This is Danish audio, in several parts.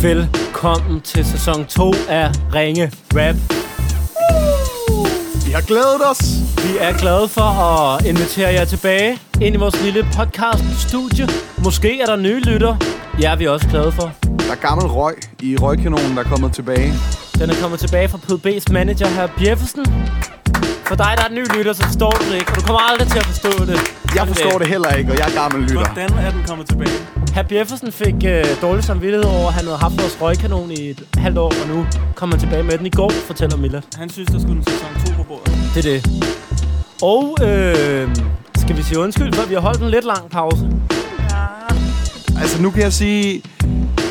Velkommen til sæson 2 af Ringe Rap. Vi har glædet os. Vi er glade for at invitere jer tilbage ind i vores lille podcast-studie. Måske er der nye lytter. Ja, er vi også glade for. Der er gammel røg i røgkanonen, der er kommet tilbage. Den er kommet tilbage fra PDB's manager, her Bjeffesen. For dig, der er en ny lytter, så forstår du det ikke. og Du kommer aldrig til at forstå det. Jeg forstår det heller ikke, og jeg er gammel lytter. Hvordan er den kommet tilbage? Herr Bjeffesen fik øh, dårlig samvittighed over, at han havde haft vores røgkanon i et halvt år, og nu kommer han tilbage med den i går, fortæller Miller. Han synes, der skulle en sæson 2 på bordet. Det er det. Og øh, skal vi sige undskyld, for at vi har holdt en lidt lang pause. Altså, nu kan jeg sige...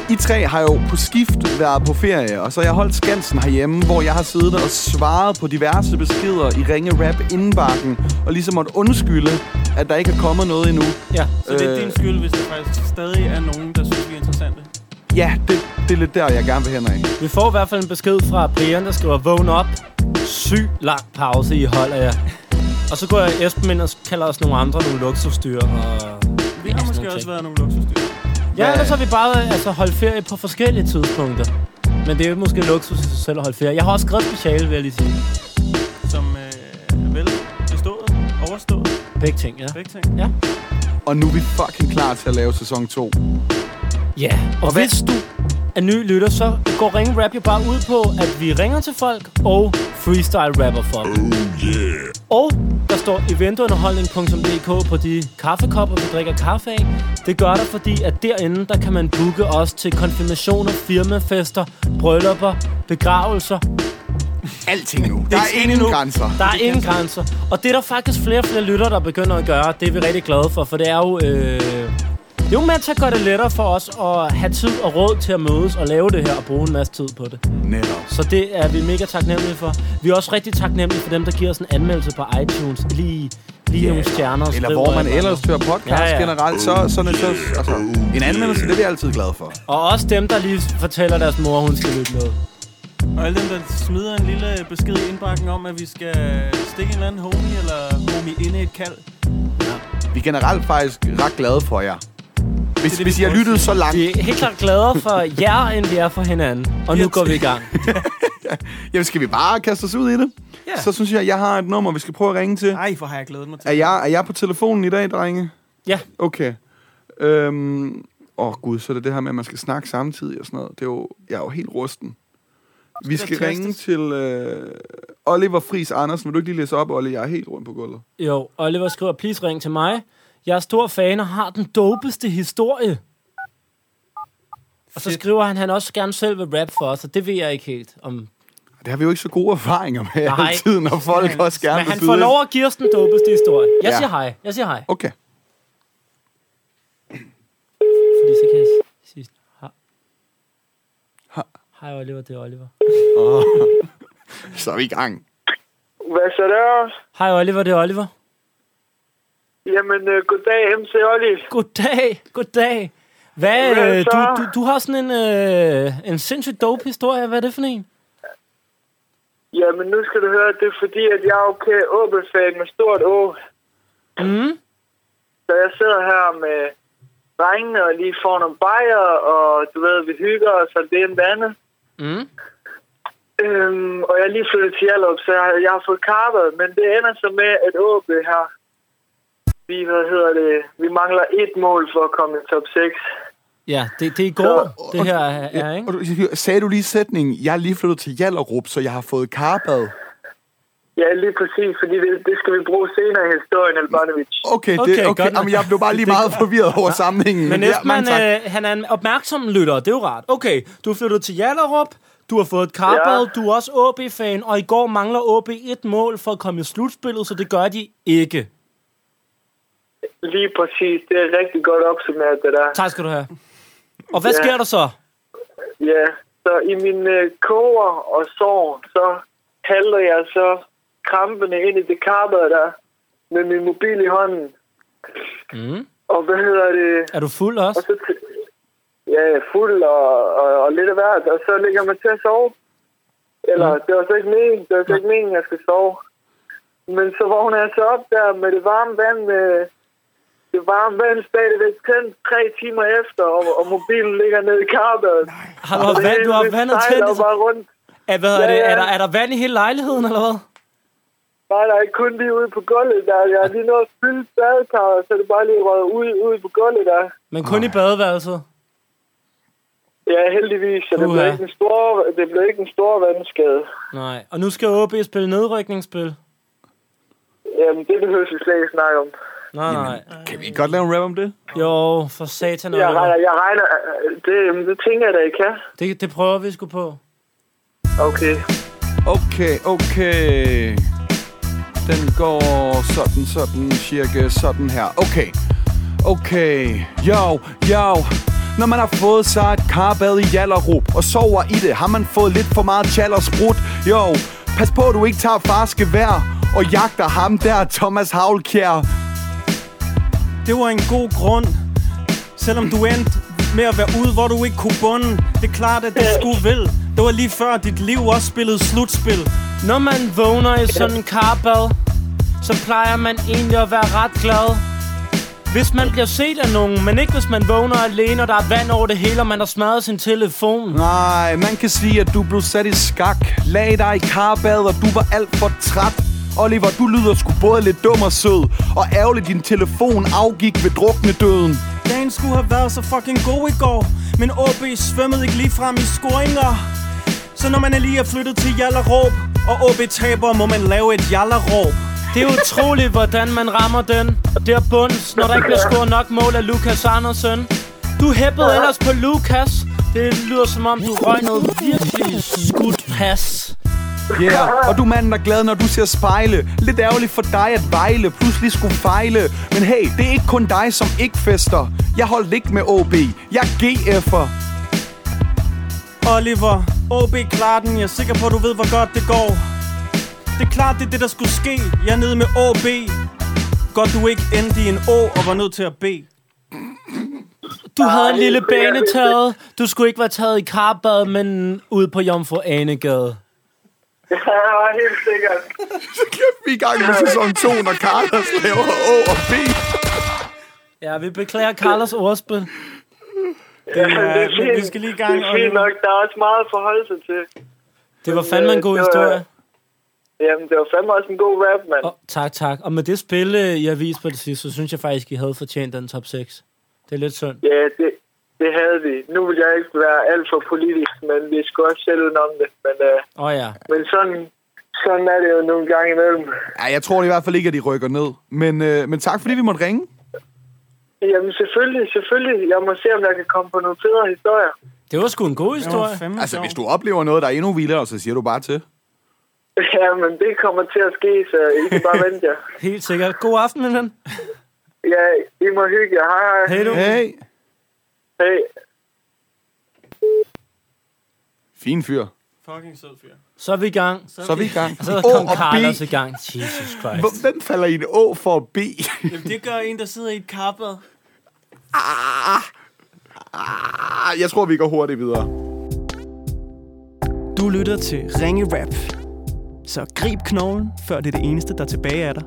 I tre har jo på skift været på ferie, og så har jeg holdt Skansen herhjemme, hvor jeg har siddet og svaret på diverse beskeder i Ringe Rap indbakken, og ligesom måtte undskylde, at der ikke er kommet noget endnu. Ja. Så det er Øh. din skyld, hvis der faktisk stadig er nogen, der synes, vi er interessante. Ja, det, det er lidt der, jeg gerne vil hen af. Vi får i hvert fald en besked fra Brian, der skriver, vågn op. Syg lang pause, I holder jer. Og så går jeg Esben ind og kalder os nogle andre nogle luksusdyr. Og... Vi har sådan måske nogle også ting. været nogle luksusdyr. Ja, Hvad- ellers har vi bare altså, holdt ferie på forskellige tidspunkter. Men det er jo måske luksus i sig selv at holde ferie. Jeg har også skrevet speciale, vil jeg lige sige. Som øh, er vel bestået, overstået, Begge ting, ja. begge ting. Og nu er vi fucking klar til at lave sæson 2. Ja, og hvad- hvis du er ny lytter, så går Ring Rap jo bare ud på, at vi ringer til folk og freestyle rapper for dem. Oh yeah. Og der står eventunderholdning.dk på de kaffekopper, vi drikker kaffe af. Det gør der, fordi at derinde, der kan man booke os til konfirmationer, firmafester, bryllupper, begravelser. Alting nu. Der er ingen grænser. Der er ingen grænser. Og det er der faktisk flere og flere lytter, der begynder at gøre. Det er vi rigtig glade for, for det er jo... Øh, det er jo med til at gøre det lettere for os at have tid og råd til at mødes og lave det her og bruge en masse tid på det. Netop. Så det er vi mega taknemmelige for. Vi er også rigtig taknemmelige for dem, der giver os en anmeldelse på iTunes. Lige, lige nogle stjerner. og Eller skriver hvor man et andet. ellers hører podcast Ja, ja, ja. ja. generelt, så, så, så, så altså, en anmeldelse, det er vi altid glade for. Og også dem, der lige fortæller deres mor, hun skal lytte med. Og alle dem, der smider en lille øh, besked i indbakken om, at vi skal stikke en eller anden homie eller homie ind i et kald. Vi er generelt faktisk ret glade for jer. Hvis, det, vi hvis I har prøver at lyttet så langt... Vi er helt klart gladere for jer, end vi er for hinanden. Og nu Ja, går vi i gang. Jamen, skal vi bare kaste os ud i det? Ja. Så synes jeg, jeg har et nummer, vi skal prøve at ringe til. Ej, hvor har jeg glædet mig til. Er jeg, er jeg på telefonen i dag, drenge? Ja. Okay. Øhm, åh oh, gud, så er det det her med, at man skal snakke samtidig og sådan noget. Det er jo, jeg er jo helt rusten. Vi skal der ringe testes? til øh, Oliver Fris Andersen. Vil du ikke lige læse op, Olle? Jeg er helt rundt på gulvet. Jo, Oliver skriver, please ring til mig. Jeg er stor fan og har den dopeste historie. Og så Fedt. skriver han, han også gerne selv vil rap for os, og det ved jeg ikke helt. Om... Men Det har vi jo ikke så gode erfaringer med Nej. hele tiden, når folk også gerne vil han byde får ind. lov at give os den dopeste historie. Jeg Ja. siger hej, jeg siger hej. Okay. Fordi så kan jeg s- sige hej. Ha. Hej Oliver, det er Oliver. Så er vi i gang. Hvad så der? Hej Oliver, det er Oliver. Jamen, øh, goddag, MC Olli. Goddag, goddag. Hvad, Hvad øh, så? du, du, du har sådan en, øh, en sindssygt dope historie. Hvad er det for en? Jamen, nu skal du høre, det er fordi, at jeg er okay Åbel-fan med stort Å. Mm. Så jeg sidder her med drengene og lige får nogle bajer, og du ved, vi hygger os og det ene og det andet. Mm. Øhm, og jeg er lige flyttet til Hjallup, så jeg, jeg har fået karpet, men det ender så med, at OB her, vi, hvad hedder det, vi mangler et mål for at komme i top 6. Ja, det, det er i går, det her er, er ikke? Og du, sagde du lige sætningen, jeg er lige flyttet til Jallerup, så jeg har fået karbad. Ja, lige præcis, fordi det, det skal vi bruge senere i historien, Albanovic. Okay, Okay, det, okay. godt nok. Jamen, jeg blev bare lige meget forvirret over sammenhængen. Men ja, Esben, mange tak. ja, øh, han er en opmærksom lytter, det er jo rart. Okay, du er flyttet til Jallerup, du har fået et karbad, ja. Ja. du er også OB-fan, og i går mangler OB et mål for at komme i slutspillet, så det gør de ikke. Lige præcis. Det er rigtig godt opsummeret, det der. Tak skal du have. Og hvad Ja. sker der så? Ja, så i min øh, koger og sår, så halter jeg så krampene ind i det karpet der med min mobil i hånden. Mm. Og hvad hedder det? Er du fuld Og også? så t- ja, fuld og, og, og lidt af hvert. Og så ligger man til at sove. Mm. Eller, det var så ikke meningen, det var så ikke meningen, jeg skal sove. Men så vågner jeg så op der med det varme vand øh, Det varme vand stadigvæk tændt tre timer efter, og, og mobilen ligger nede i karbøden. Har du haft vand, du har haft vandet tændt? i- bare rundt. Er, hvad er, Ja, det, ja. er, der, er der vand i hele lejligheden, eller hvad? Nej, nej, kun lige ude på gulvet der. Jeg har lige nået at fylde badekarret, så det bare lige røget ud, ud på gulvet der. Men kun i badeværelset. Ja, heldigvis. Så det Uha. blev ikke en stor, det blev ikke en stor vandskade. Nej. Og nu skal OB spille nedrykningsspil. Jamen, det behøver vi slet ikke snakke om. Nej, nej. Kan vi godt lave en rap om det? Jo, for satan. Jeg Oliver. regner, jeg regner det, det tænker jeg da, I kan. Det, det prøver vi sgu på. Okay. Okay, okay. Den går sådan, sådan, cirka sådan her. Okay. Okay. Jo, jo. Når man har fået sig et karbad i Jallerup og sover i det, har man fået lidt for meget tjal og sprut. Jo, pas på, at du ikke tager fars gevær og jagter ham der, Thomas Havlkjær. Det var en god grund, selvom du endte med at være ude, hvor du ikke kunne bunde. Det er klart, at det skulle vel. Det var lige før, dit liv også spillede slutspil. Når man vågner i sådan en karbad, så plejer man egentlig at være ret glad. Hvis man bliver set af nogen, men ikke hvis man vågner alene, og der er vand over det hele, og man har smadret sin telefon. Nej, man kan sige, at du blev sat i skak. Lag dig i karbad, og du var alt for træt. Oliver, du lyder sgu både lidt dum og sød, og ærgerligt din telefon afgik ved drukne døden. Dagen skulle have været så fucking god i går, men OB svømmede ikke lige frem i scoringer. Så når man er lige er flyttet til Jallerup, og OB taber, må man lave et Jallerup. Det er utroligt, hvordan man rammer den. Det er bunds, når der ikke bliver scoret nok mål af Lukas Andersen. Du hæppede ellers på Lukas. Det lyder som om, du røg noget virkelig skudt pas. Yeah, og du er manden der er glad, når du ser spejle. Lidt ærgerligt for dig at vejle, pludselig skulle fejle. Men hey, det er ikke kun dig, som ikke fester. Jeg holdt ikke med OB, jeg er GF'er. Oliver, OB klarer den. Jeg er sikker på, at du ved, hvor godt det går. Det er klart, det er det, der skulle ske. Jeg er nede med OB. Godt, du ikke endte i en Å og var nødt til at bede. Du havde en lille det er det. banetaget. Du skulle ikke være taget i karbad, men ude på Jomfru Anegade. Ja, helt sikkert. Kæft, vi er i gang med sæson 2, når Carlos laver O og B. Ja, vi beklager Carlos ordspil. Ja, er- vi- vi skal lige i gang, Det er fint Oliver. nok. Der er også meget at forholde sig til. Øh, Det var fandme en god Det var- historie. Jamen, det var fandme også en god rap, mand. Oh, tak, tak. Og med det spil, øh, I har vist på det sidste, så synes jeg faktisk, I havde fortjent den top 6. Det er lidt synd. Ja, det, det havde vi. Nu vil jeg ikke være alt for politisk, men vi skulle også selv udenom det. Men, øh, Åh oh, ja. men sådan, sådan er det jo nogle gange imellem. Ja, jeg tror i hvert fald ikke, at de rykker ned. Men, øh, men tak, fordi vi måtte ringe. Jamen, selvfølgelig, selvfølgelig. Jeg må se, om jeg kan komme på nogle federe historier. Det var sgu en god historie. Altså, hvis du oplever noget, der er endnu vildere, så siger du bare til. Ja, men det kommer til at ske, så I kan bare vente jer. Helt sikkert. God aften, min ven. Ja, I må hygge jer. Hej, hej. Hej du. Hey. Hej. Fin fyr. Fucking sød fyr. Så er vi i gang. Så er vi i gang. Så Å kom og Carlos i B. gang. Jesus Hvor- Christ. Hvem falder i en Å for B? Jamen, det gør en, der sidder i et kappet. Ah, jeg tror, vi går hurtigt videre. Du lytter til Ringe Rap. Så grib knoglen, før det er det eneste, der er tilbage af dig.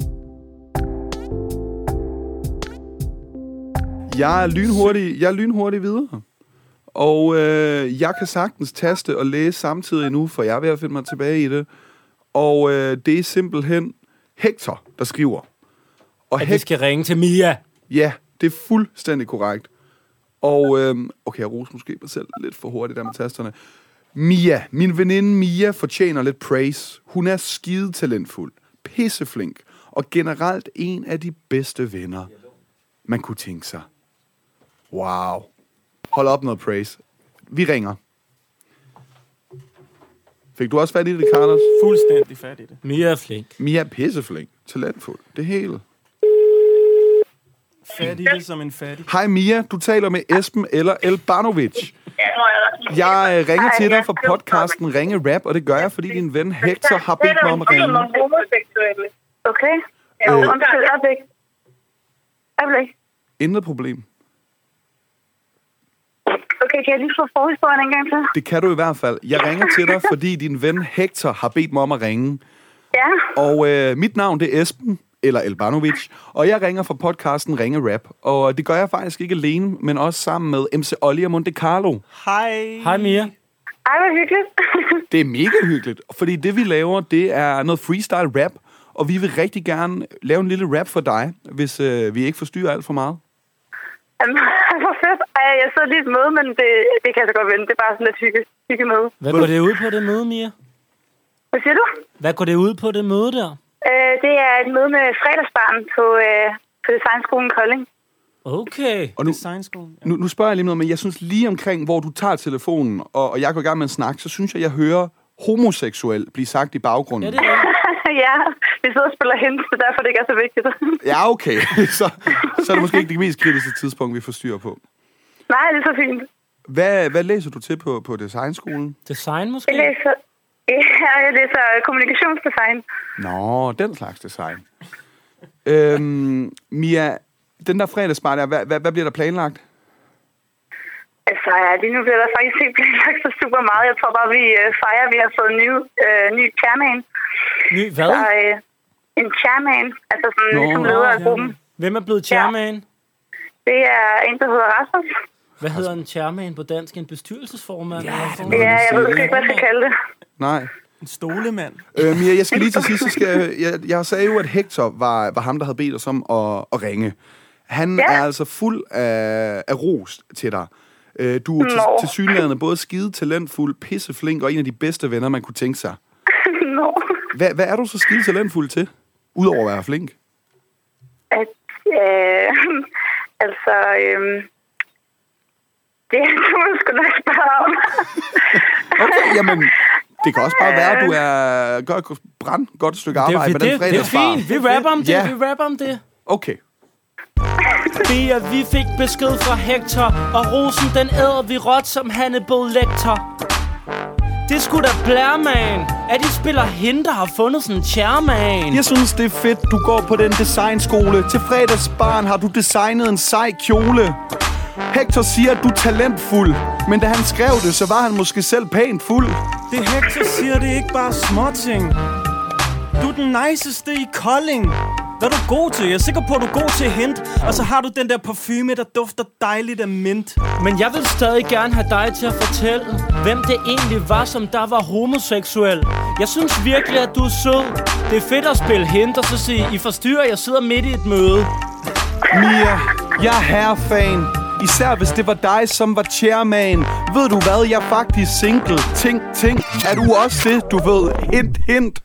Jeg er lynhurtig, jeg er lynhurtig videre. Og øh, jeg kan sagtens taste og læse samtidig nu, for jeg er ved at finde mig tilbage i det. Og øh, det er simpelthen Hector, der skriver. Og At vi skal ringe til Mia. Ja, det er fuldstændig korrekt. Og, øhm, okay, jeg roser måske mig selv lidt for hurtigt der med tasterne. Mia, min veninde Mia, fortjener lidt praise. Hun er skide talentfuld, pisseflink og generelt en af de bedste venner, man kunne tænke sig. Wow. Hold op noget praise. Vi ringer. Fik du også fat i det, Carlos? Fuldstændig fat i det. Mia er flink. Mia er pisseflink, talentfuld, det hele. Fat i det som en fattig. Hej Mia, du taler med Esben eller Elbanovic. Jeg øh, ringer til dig fra podcasten Ringe Rap, og det gør jeg, fordi din ven Hector har bedt mig om at ringe. homoseksuelle. Okay. Ja, Øh. øh. Undskyld, øjeblik. Øjeblik. Intet problem. Okay, kan jeg lige få forhistorien en gang til? Det kan du i hvert fald. Jeg ringer til dig, fordi din ven Hector har bedt mig om at ringe. Ja, Og øh, mit navn, det er Esben eller Elbanovic. Og jeg ringer fra podcasten Ringe Rap. Og det gør jeg faktisk ikke alene, men også sammen med MC Olli og Monte Carlo. Hej. Hej Mia. Ej, hvor hyggeligt. Det er mega hyggeligt, fordi det vi laver, det er noget freestyle rap. Og vi vil rigtig gerne lave en lille rap for dig, hvis øh, vi ikke forstyrrer alt for meget. Jamen, hvor fedt. Ej, jeg sidder lige i et møde, men det, det kan jeg så godt vente. Det er bare sådan et hygge, hygge møde. Hvad går det ud på det møde, Mia? Hvad siger du? Hvad går det ud på det møde der? Øh, det er et møde med fredagsbarn på, øh, på Designskolen Kolding. Okay. Og nu, Designskolen. nu, nu spørger jeg lige om noget, men jeg synes lige omkring, hvor du tager telefonen, og, og jeg går i gang med en snak, så synes jeg, jeg hører homoseksuel blive sagt i baggrunden. Ja, det er det. ja, vi sidder og spiller hende, så derfor det ikke er så vigtigt. Ja, okay. så, så er det måske ikke det mest kritiske tidspunkt, vi får styr på. Nej, det er så fint. Hvad, hvad læser du til på, på designskolen? Design måske? Jeg læser, ja, jeg læser øh, kommunikationsdesign. Nå, den slags design. Øhm, Mia, den der fredagsbar der, hvad, hvad, hvad bliver der planlagt? Altså, ja, lige nu bliver der faktisk ikke planlagt så super meget. Jeg tror bare, vi øh, fejrer, at vi har fået en ny, øh, ny chairman. Ny hvad? Så, øh, en chairman, altså sådan Nå, Nå, ligesom leder af gruppen. Hvem er blevet chairman? Det er en, der hedder Rasmus. Hvad hedder en chairman på dansk? En bestyrelsesformand? Ja, Ja, jeg ved sgu ikke, hvad jeg skal kalde det. Nej. En stolemand. Øh, Mia, jeg skal lige til sidst, så skal jeg, jeg, jeg sagde jo, at Hector var, var ham, der havde bedt os om at, at ringe. Han ja. Ja. er altså fuld af, af ros til dig. Øh, du er til, Nå. til synligheden både skide talentfuld, pisseflink og en af de bedste venner, man kunne tænke sig. Nå, Hvad, hvad er du så skide talentfuld til? Udover at være flink. at, øh, altså, øh, det kan man sgu nok spørge om. Okay, jamen, det kan også bare være, at du er, gør et brand godt stykke Det, arbejde det, med det, den det er fredagsbar. fint. Vi rapper om det. Ja. Vi rapper om det. Okay. Bea, vi fik besked fra Hector Og rosen, den æder vi råt som Hannibal Lecter Det skulle da blære, man At de spiller hende, der har fundet sådan en chairman Jeg synes, det er fedt, du går på den designskole. Til fredagsbaren har du designet en sej kjole. Hector siger, at du er talentfuld. Men da han skrev det, så var han måske selv pænt fuld. Det Hector siger, det er ikke bare småting. Du er den niceste i Kolding. Hvad er du god til? Jeg er sikker på, at du er god til hint. Og så har du den der parfume, der dufter dejligt af mint. Men jeg vil stadig gerne have dig til at fortælle Hvem det egentlig var, som der var homoseksuel Jeg synes virkelig, at du er sød Det er fedt at spille hende og så sige I forstyrrer, jeg sidder midt i et møde Mia, jeg er herrefan. Især hvis det var dig, som var chairman. Ved du hvad, jeg er faktisk single. Tænk, tænk, er du også det, du ved? Hint, hint.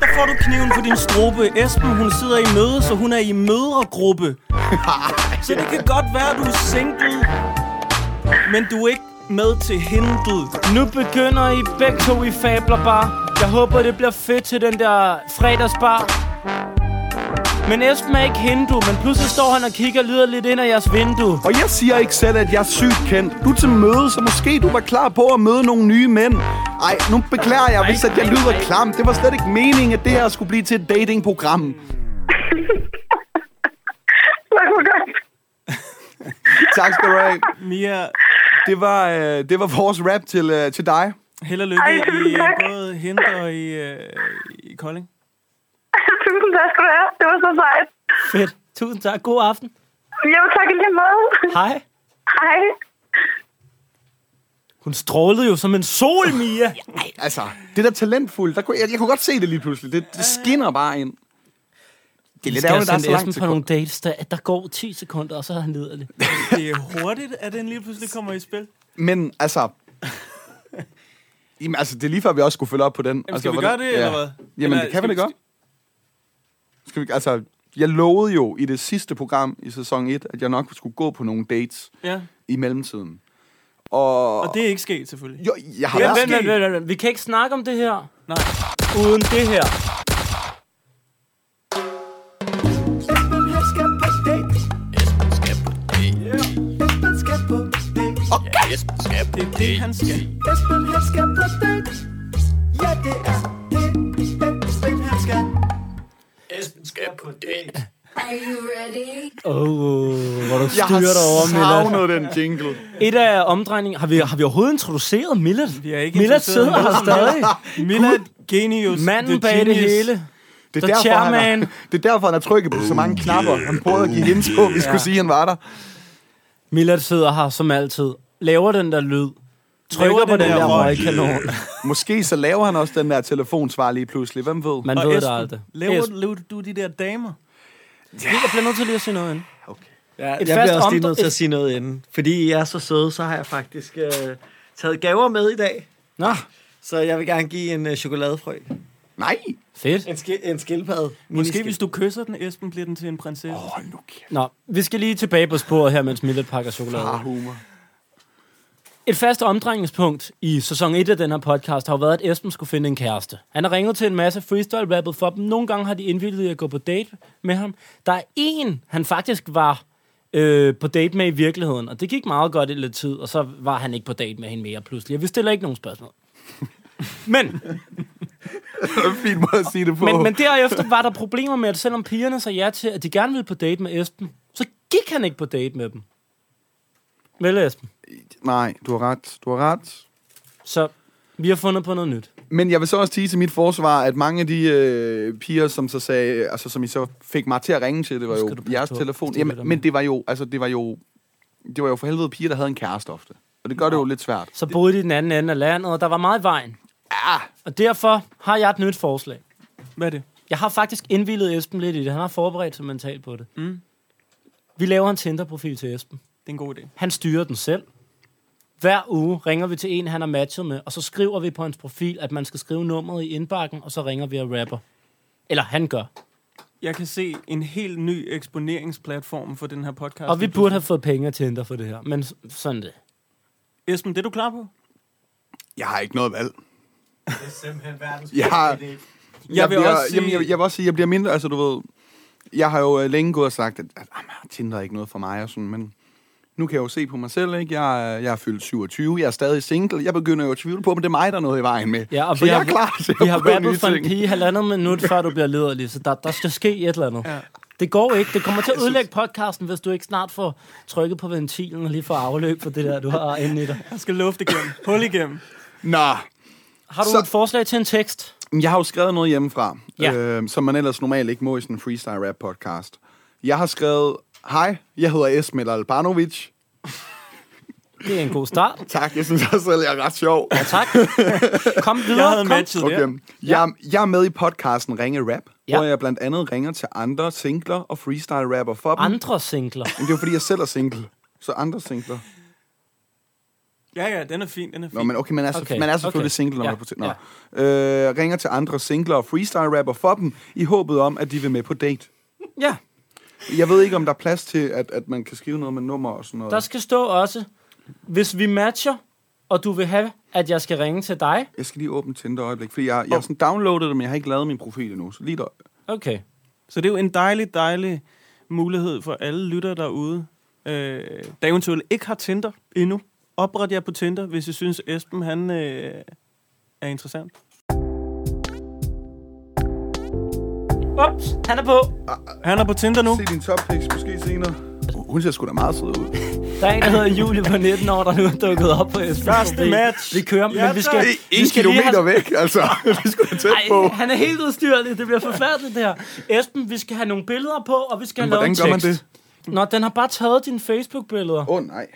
Der får du kniven på din strobe. Esben, hun sidder i møde, så hun er i mødregruppe. så det kan godt være, at du er single, men du er ikke med til hintet. Nu begynder I begge to i fabler bare. Jeg håber, det bliver fedt til den der fredagsbar. Men Esben er ikke hindu, men pludselig står han og kigger lyder lidt ind ad jeres vindue. Og jeg siger ikke selv, at jeg er sygt kendt. Du er til møde, så måske du var klar på at møde nogle nye mænd. Ej, nu beklager jeg, hvis at jeg lyder klam. Det var slet ikke meningen, at det her skulle blive til et datingprogram. Så kunne godt. Tak skal du have. Mia, Det var, øh, det var vores rap til, øh, til dig. held og Ej, lykke tusind i øh, tak. både hint og i, øh, i Kolding. Tusind tak skal du have. Det var så sejt. Fedt. Tusind tak. God aften. Jo, tak i lige måde. Hej. Hej. Hun strålede jo som en sol, Mia. Altså, det der talentfulde, der kunne, jeg, jeg kunne godt se det lige pludselig. Det, det skinner bare ind. Det er Vi lidt skal ærgerligt, der er så sende langt Esben til på nogle dates, der, at der går 10 sekunder, og så er han liderlig. Det er hurtigt, at den lige pludselig kommer i spil. Men altså... Jamen, altså, det er lige før, vi også skulle følge op på den. Jamen, altså, skal vi gøre det, eller hvad? Jamen, Eller det kan skal vi da vi- godt. Skal vi, altså, jeg lovede jo i det sidste program i sæson 1, at jeg nok skulle gå på nogle dates Ja. i mellemtiden. Og, Og det er ikke sket, selvfølgelig. jo, jeg har Vent, været... vent, vent, vent, vent. Vi kan ikke snakke om det her, Nej. uden det her. Det er det, han skal. Are you ready? Åh, Oh, hvor du Jeg har styrer dig over, savnet Milad. den jingle. Et af omdrejningerne... Har vi, har vi overhovedet introduceret Milad? Vi har ikke Milad introduceret sidder her Milad. stadig. Milad Genius. Manden the bag det genius. hele. Det The er, derfor, han chairman. har, det er derfor, han har trykket på så mange knapper. Han prøvede at give hende på, vi skulle Ja. sige, han var der. Millard sidder her som altid, laver den der lyd, trykker på den den der der røg. røgkanon. Måske så laver han også den der telefonsvar lige pludselig. Hvem ved? Man Og ved det Esben, aldrig. Laver, Esben, laver du de der damer? Jeg bliver nødt til lige at sige noget ind. Ja, Et jeg fast bliver også lige omdre- nødt til et- at sige noget inden. Fordi I er så søde, så har jeg faktisk øh, taget gaver med i dag. Nå, Så jeg vil gerne give en øh, chokoladefrø. Nej! fedt. En, skil, en skildpadde. Måske hvis du kysser den, Esben, bliver den til en prinsesse. Oh. Hold nu kæft. Nå, vi skal lige tilbage på sporet her, mens Millet pakker chokolade. Bare humor. Et fast omdrejningspunkt i sæson 1 af den her podcast har jo været, at Esben skulle finde en kæreste. Han har ringet til en masse freestyle rappet for dem. Nogle gange har de indvildet i at gå på date med ham. Der er en, han faktisk var øh, på date med i virkeligheden, og det gik meget godt i lidt tid, og så var han ikke på date med hende mere pludselig. Og vi stiller ikke nogen spørgsmål. Men Det var en fin måde at sige det på. Men, men derefter var der problemer med, at selvom pigerne sagde ja til, at de gerne ville på date med Esben, så gik han ikke på date med dem. Vel, Esben? Nej, du har ret. Du har ret. Så vi har fundet på noget nyt. Men jeg vil så også sige til mit forsvar, at mange af de øh, piger, som så sagde, øh, altså som I så fik mig til at ringe til, det var Nu jo skal du passe jeres på, telefon. hvis du lytter Jamen, med. men det var jo, altså det var jo, det var jo for helvede piger, der havde en kæreste ofte. Og det gør det jo lidt svært. Så boede de i den anden ende af landet, og der var meget i vejen. Ah, Og derfor har jeg et nyt forslag. Hvad er det? Jeg har faktisk indvildet Esben lidt i det. Han har forberedt sig mentalt på det. Mm. Vi laver en Tinder-profil til Esben. Det er en god idé. Han styrer den selv. Hver uge ringer vi til en, han har matchet med, og så skriver vi på hans profil, at man skal skrive nummeret i indbakken, og så ringer vi og rapper. Eller han gør. Jeg kan se en helt ny eksponeringsplatform for den her podcast. Og vi burde have fået penge af Tinder for det her, men s- sådan det. Esben, det er du klar på? jeg har ikke noget valg. Det er simpelthen verdens Jeg har, Jeg, jeg vil bliver, også sige... Jamen, jeg, jeg vil også sige, jeg bliver mindre, altså du ved... Jeg har jo øh, længe gået og sagt, at, at jamen, Tinder er ikke noget for mig og sådan, men... Nu kan jeg jo se på mig selv, ikke? Jeg, er- jeg er fyldt 27, jeg er stadig single. Jeg begynder jo at tvivle på, om det er mig, der er noget i vejen med. Ja, og så vi jeg har- er klar til Vi at har prøve nye rappet for en ting. pige i halvandet minut, før du bliver lederlig, så der, der skal ske et eller andet. Ja. Det går ikke. Det kommer til at ødelægge podcasten, hvis du ikke snart får trykket på ventilen og lige får afløb for det der, du har inde i dig. Jeg skal lufte igennem. Hul igennem. Nå, Har du så... Så- et forslag til en tekst? Men Jeg har jo skrevet noget hjemmefra, Ja. ja. øh, som man ellers normalt ikke må i sådan en freestyle rap podcast. Jeg har skrevet, hej, jeg hedder Esmel Albanovic. Det er en god start. Tak, jeg synes også selv, jeg er ret sjov. Ja, tak. Kom videre. Jeg havde kom. matchet Okay. der. Jeg, jeg er med i podcasten Ringe Rap, Ja. ja. hvor jeg blandt andet ringer til andre singler og freestyle rapper for dem. An- Andre singler. Men det er jo fordi, jeg selv er single. Så andre singler. Ja, ja, den er fin, den er fin. Nå, men okay, man er, så, Okay, okay. man er selvfølgelig okay. okay. single, når Ja, man er på Tinder. Nå. Øh, ringer til andre singler og freestyle rapper for dem, i håbet om, at de vil med på date. Ja. Jeg ved ikke, om der er plads til, at, at man kan skrive noget med nummer og sådan noget. Der skal stå også, hvis vi matcher, og du vil have, at jeg skal ringe til dig. Jeg skal lige åbne Tinder et øjeblik, fordi jeg, jeg har sådan downloadet det, men jeg har ikke lavet min profil endnu. Så lige der. Okay. Så det er jo en dejlig, dejlig mulighed for alle lytter derude, øh, der eventuelt ikke har Tinder endnu. Opret jer på Tinder, hvis I synes, Esben han, øh, er interessant. Ups, han er på. Han er på Tinder nu. Se din top picks måske senere. Hun ser sgu da meget sød ud. Der er en, der hedder Julie på 19 år, der nu er dukket op på Esbjerg. Første match. Vi kører, men Ja, vi tak. skal... En vi skal lige kilometer væk, altså. Vi skulle da tæt på. Ej, han er helt udstyrlig. Det bliver forfærdeligt, det her. Esben, vi skal have nogle billeder på, og vi skal have Men lavet en hvordan gør man tekst. man det? Nå, den har bare taget dine Facebook-billeder. Åh oh, nej.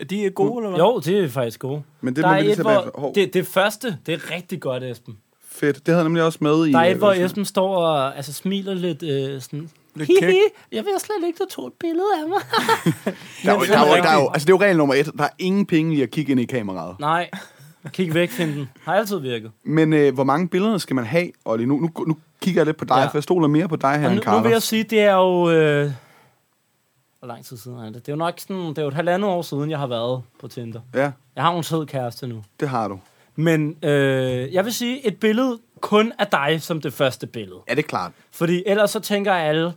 Er de øh, gode, eller hvad? Mm. Jo, det er faktisk gode. Men det der må er vi lige et, tage hvor, bag- Hov. det, det første, det er rigtig godt, Esben. Fedt. Det havde jeg nemlig også med i... Der er et, øh, hvor hvad skal- Esben står og altså, smiler lidt øh, sådan... Lidt Hihi, kæk. jeg ved slet ikke, der tog et billede af mig. Der er, jo- der, er, jo- der, er, jo- altså, det er jo regel nummer et. Der er ingen penge i at kigge ind i kameraet. Nej, kig væk, find den. Har altid virket. Men øh, hvor mange billeder skal man have, Olli? Nu, nu, nu kigger jeg lidt på dig, Ja. ja. for jeg stoler mere på dig her Og end nu, nu Carter. vil jeg sige, det er jo... Øh, hvor lang tid siden er det? Det er jo nok sådan... Det er jo et halvandet år siden, jeg har været på Tinder. Ja, Jeg har en sød kæreste nu. det har du. Men øh, jeg vil sige, et billede kun af dig som det første billede. Ja, det er klart. Fordi ellers så tænker alle,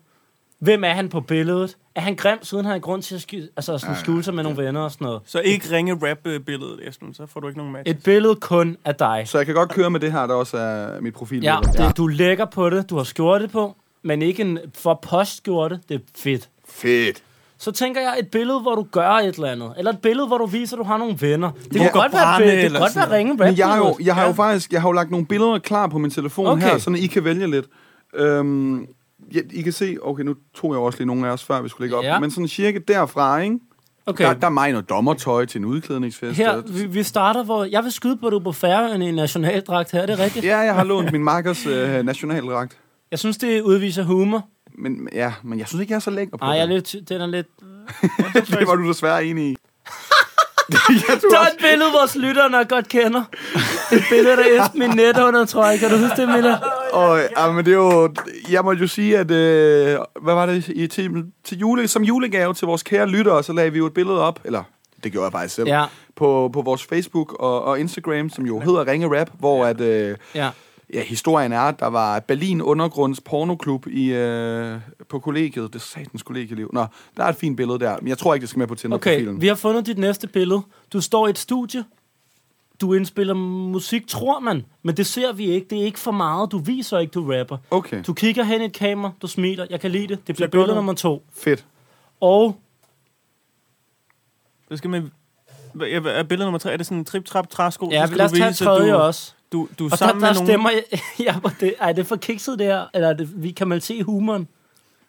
hvem er han på billedet? Er han grim, siden han har grund til at sky- altså sådan skjule sig med nogle venner og sådan noget? Så ikke ringe rap-billedet, Esben, så får du ikke nogen match. Et billede kun af dig. Så jeg kan godt køre med det her, der også er mit profil. Ja, det, du lægger på det, du har skjorte på, men ikke en for postskjorte. Det er fedt. Fedt. så tænker jeg et billede, hvor du gør et eller andet. Eller et billede, hvor du viser, at du har nogle venner. Det kan Lukker godt være, et brande billede- det eller kan godt sådan være ringe rap. Men jeg har jo, jeg har jo faktisk jeg har jo lagt nogle billeder klar på min telefon Okay. okay. her, så I kan vælge lidt. Øhm, ja, I kan se, okay, nu tog jeg jo også lige nogle af os, før vi skulle lægge op. Ja. Men sådan cirka derfra, ikke? Okay. Der, Okay, der er mig noget dommertøj til en udklædningsfest. her, og- vi, vi starter, hvor... Jeg vil skyde på, at du er på færre i nationaldragt her, er det rigtigt? Ja, jeg har lånt min makkers øh, nationaldragt. Jeg synes, det udviser humor. Men ja, men jeg synes ikke, jeg er så lækker på Nej, jeg er det. lidt, den er lidt... det var du desværre enig i. Der er et billede, vores lytterne godt kender. Det er et billede, der er min netundertrøj. Kan du huske det, Milla? Og ja, men det er jo, jeg må jo sige, at øh, hvad var det i til, til jule, som julegave til vores kære lyttere, så lagde vi jo et billede op, eller det gjorde jeg faktisk selv, Ja. på, på vores Facebook og, og Instagram, som jo hedder Ringe Rap, hvor at, øh, Ja. ja, historien er, at der var Berlin Undergrunds pornoklub i, øh, på kollegiet, det satans kollegieliv. Nå, der er et fint billede der, men jeg tror ikke, det skal med på Tinder-profilen. Okay, vi har fundet dit næste billede. Du står i et studie. Du indspiller musik, tror man. Men det ser vi ikke. Det er ikke for meget. Du viser ikke, du rapper. Okay. Du kigger hen i et kamera. Du smiler. Jeg kan lide det. Det bliver Det gør billede du. nummer to. Fedt. Og Hvad skal man... Hvad- ja, hvad- Er billede nummer tre, er det sådan en trip-trap-træsko? ja, Så skal lad os du tage vise, at tredje du, også. Du, du er Og der, sammen der med stemmer jeg... Ja, hvor det, ej, det er for kikset det her. Eller er det, vi, kan man se humoren?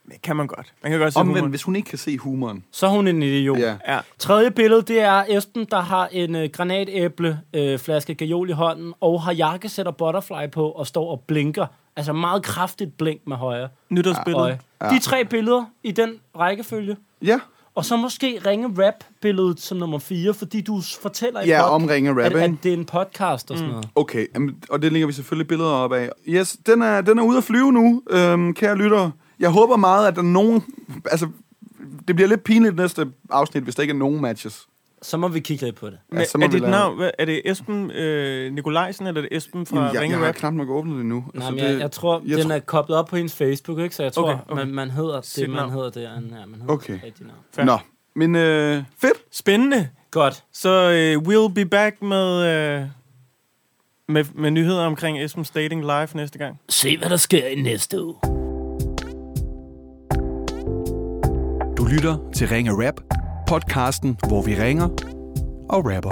nogen... Kan man godt. Man kan godt se Omvendt, humoren. hvis hun ikke kan se humoren. Så er hun en idiot. Ja. Ja. Tredje billede, det er Esben, der har en øh, granatæble, øh, flaske gajol i hånden, og har jakkesæt og butterfly på, og står og blinker. Altså meget kraftigt blink med højre Nytårsbillede. øje. De tre billeder i den rækkefølge. Ja, Og så måske ringe rap-billedet som nummer 4, fordi du s- fortæller i ja pod- om Ringe Rap, at, at ikke? det er en podcast og sådan noget. Okay, jamen, og det lægger vi selvfølgelig billeder op af. Yes, den er, den er ude at flyve nu, øhm, kære lyttere. Jeg håber meget, at der er nogen... Altså, det bliver lidt pinligt næste afsnit, hvis der ikke er nogen matches. Så må vi kigge lidt på det. Men så må er vi dit lade- navn, hvad- er det Esben øh, Nikolajsen, eller er det Esben fra Jamen, jeg, Ringe jeg har Rap? knap nok åbnet Altså det endnu. Nej, men jeg, jeg tror, jeg jeg den tror- er koblet op på hendes Facebook, ikke? Så jeg tror, Okay, okay. Man, man hedder det, Sit man navn. hedder det. Ja, man hedder Okay. det rigtige navn. Fair. Nå, men øh, fedt. Spændende. Godt. Så øh, we'll be back med, øh, med, med nyheder omkring Esbens Dating Live næste gang. Se, hvad der sker i næste uge. Du lytter til Ringe Rap, podcasten, hvor vi ringer og rapper.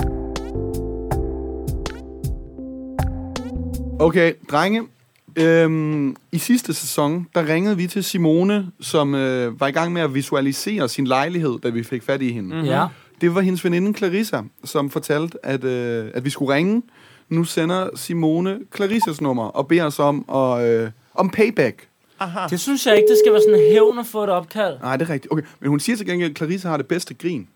Okay, drenge. Øhm, I sidste sæson, der ringede vi til Simone, som øh, var i gang med at visualisere sin lejlighed, da vi fik fat i hende. Mm. Mhm. Ja. Det var hendes veninde Clarissa, som fortalte, at, øh, at vi skulle ringe. Nu sender Simone Clarissas nummer og beder os om, at, øh, om payback. Det synes jeg ikke, det skal være sådan en hævn at få et opkald. Nej, det er rigtigt. Okay, men hun siger til gengæld, at Clarissa har det bedste grin.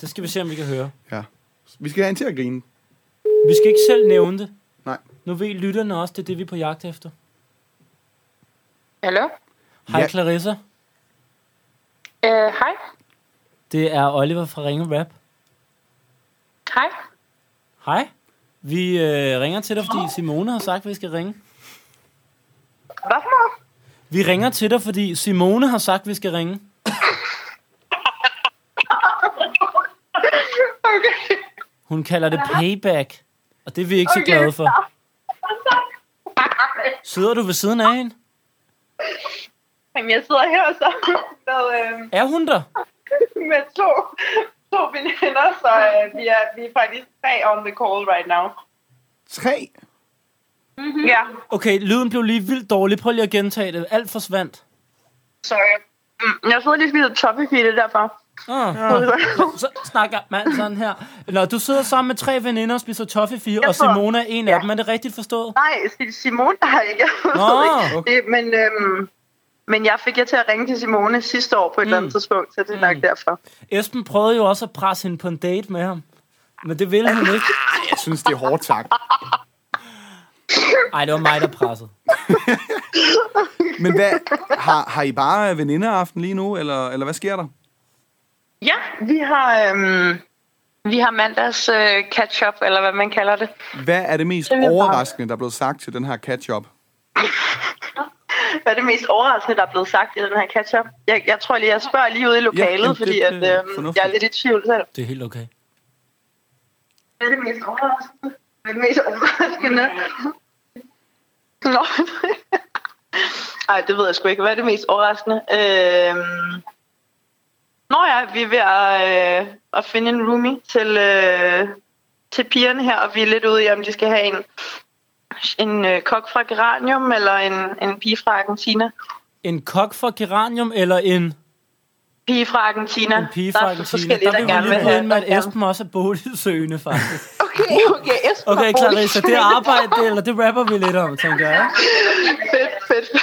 Det skal vi se, om vi kan høre. Ja. Vi skal have hende til at grine. Vi skal ikke selv nævne det. Nej. Nu ved lytterne også, det er det, vi er på jagt efter. Hallo? Hej Ja. Clarissa. Øh, hej. Det er Oliver fra Ringe Rap. Hej. Hej. Vi øh, ringer til dig, fordi Simone har sagt, at vi skal ringe. Hvad for noget? Vi ringer til dig, fordi Simone har sagt, at vi skal ringe. Okay. Hun kalder det payback, og det er vi ikke så glade for. Sidder du ved siden af hende? Jamen, jeg sidder her så med, øh, Er hun der? med to, to veninder, så øh, vi, er, vi er faktisk tre on the call right now. Tre? Mm-hmm. Ja. Okay, lyden blev lige vildt dårlig. Prøv lige at gentage det. Alt forsvandt. Sorry. Mm, Jeg sidder lige og spiser topic i det derfor. Ah. så snakker man sådan her. Nå, du sidder sammen med tre veninder og spiser toffee, og tror- Simone er en af ja. dem. Er det rigtigt forstået? Nej, Si- Simone har ikke. Nå, okay. det, men, øhm, men jeg fik jer til at ringe til Simone sidste år på et mm. eller andet tidspunkt, så det er nok derfor. Esben prøvede jo også at presse hende på en date med ham. Men det ville hun ikke. Jeg synes, det er hårdt tak. Ej, det var mig, der pressede. Men hvad, har, har I bare venindeaften lige nu, eller, eller hvad sker der? Ja, vi har, øhm, vi har mandags øh, catch-up, eller hvad man kalder det. Hvad er det mest Det er bare- overraskende, der er blevet sagt til den her catch-up? Hvad er det mest overraskende, der er blevet sagt i den her catch-up? Jeg, jeg tror lige, jeg spørger lige ude i lokalet, jamen, ja, det- fordi det at, er øhm, fornuftigt. jeg er lidt i tvivl selv. Det er helt okay. Hvad er det mest overraskende? Hvad er det mest overraskende? Nå. Nej, det ved jeg sgu ikke. Hvad er det mest overraskende? Øh... Nå ja, vi er ved at, øh, at finde en roomie til, øh, til pigerne her, og vi er lidt ude i, om de skal have en, en øh, kok fra Geranium eller en, en pige fra Argentina. En kok fra Geranium eller en, Pige fra Argentina. en pige fra Der er Argentina? forskellige, der, Der vil gerne vi vil lige gå have. ind med, at gerne- Esben også er boligsøgende, faktisk. Okay, okay, Esben Okay, har bolig. Clarissa, det arbejde, det, eller det rapper vi lidt om, tænker jeg. ikke? fedt, fedt.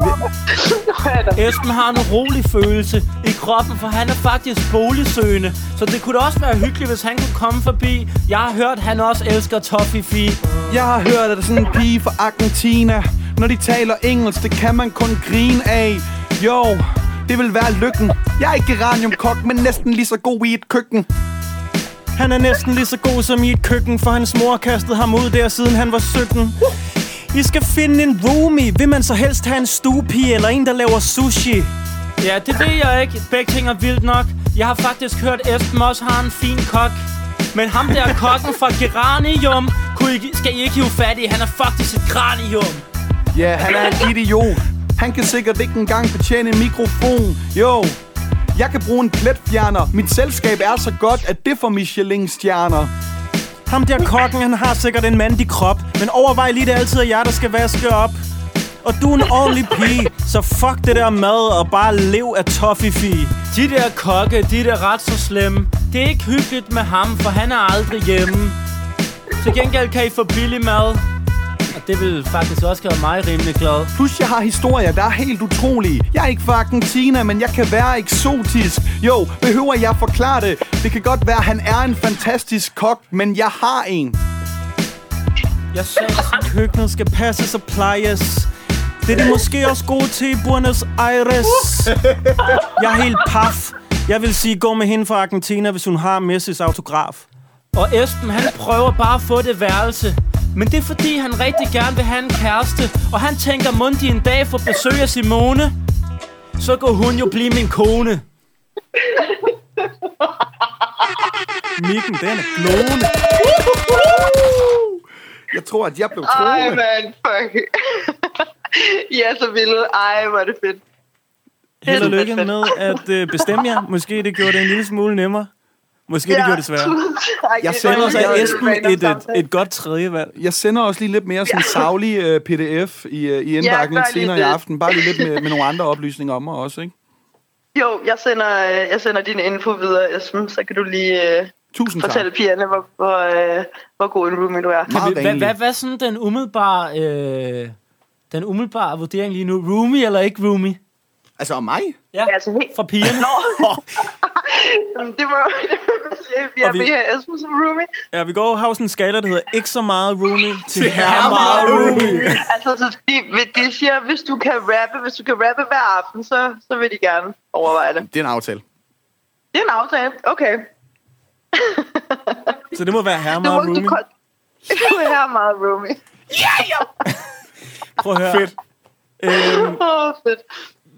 Hvor er der Esben har en urolig følelse i kroppen, for han er faktisk boligsøgende. Så det kunne da også være hyggeligt, hvis han kunne komme forbi. Jeg har hørt, han også elsker Toffifee. Jeg har hørt, at der er sådan en pige fra Argentina. Når de taler engelsk, det kan man kun grine af. Jo, det vil være lykken. Jeg er ikke geraniumkok, men næsten lige så god i et køkken. Han er næsten lige så god som i et køkken, for hans mor kastede ham ud der, siden han var 17. I skal finde en roomie. Vil man så helst have en stuepige eller en, der laver sushi? Ja, det ved jeg ikke. Begge ting er vildt nok. Jeg har faktisk hørt, Esben også har en fin kok. Men ham der kokken fra Geranium, kunne I, skal I ikke hive fat i. Han er faktisk et granium. Ja, han er en idiot. Han kan sikkert ikke engang betjene en mikrofon. Jo, jeg kan bruge en pletfjerner. Mit selskab er så godt, at det får Michelin-stjerner. Ham der kokken, han har sikkert en mandig krop, men overvej lige det er altid er jer, der skal vaske op. Og du er en ordentlig pige, så fuck det der mad og bare lev af toffifee. De der kokke, de er da ret så slemme. Det er ikke hyggeligt med ham, for han er aldrig hjemme. Til gengæld kan I få billig mad. Og det vil faktisk også gøre mig rimelig glad. Plus jeg har historier, der er helt utrolige. Jeg er ikke fra Argentina, men jeg kan være eksotisk. Jo, behøver jeg forklare det? Det kan godt være, at han er en fantastisk kok, men jeg har en. Jeg sagde sådan, Køkkenet skal passes og plejes. Det er de måske også gode til i Buenos Aires. Jeg er helt paf. Jeg vil sige, gå med hende fra Argentina, hvis hun har Messis autograf. og Esben han prøver bare at få det værelse. Men det er fordi, han rigtig gerne vil have en kæreste, og han tænker mundi en dag får besøg af Simone. Så kunne hun jo blive min kone. Mikken, den er glående. Jeg tror, at jeg blev Ej, troende. man, fuck. I er så vilde. Ej, hvor er det fedt. Held og lykke med at øh, bestemme jer. Måske det gjorde det en lille smule nemmere. Måske det gjorde det sværere. Ej, Jeg det sender var Ellers er virkelig Esben random et, et, samtale. et godt tredje valg. Jeg sender også lige lidt mere sådan savlig øh, pdf i, øh, i indbakken gør ja, lige senere i det. aften. Bare lige lidt øh. med, med nogle andre oplysninger om mig også, ikke? Jo, jeg sender, øh, jeg sender din info videre, Esben. Så kan du lige øh, Tusind tak. fortælle pigerne, hvor, hvor, øh, hvor god en roomie du er. Meget Hvad, venlig. hvad, hvad er sådan den umiddelbare, øh, den umiddelbare vurdering lige nu? Roomie eller ikke roomie? Altså, og mig? Ja, Altså helt... fra pigerne. det må det må man sige. Vi er Og vi- med her Esben som roomie. Ja, vi går har sådan en skala, der hedder ikke så meget roomie til er her meget meget roomie. altså, så de, de siger, hvis du kan rappe, hvis du kan rappe hver aften, så, så vil de gerne overveje det. Det er en aftale. Det er en aftale. Okay. Så det må være her Du må meget ikke roomie. du kon- Du er her meget roomie. Prøv at høre. Fedt. Øhm, Åh, oh, fedt.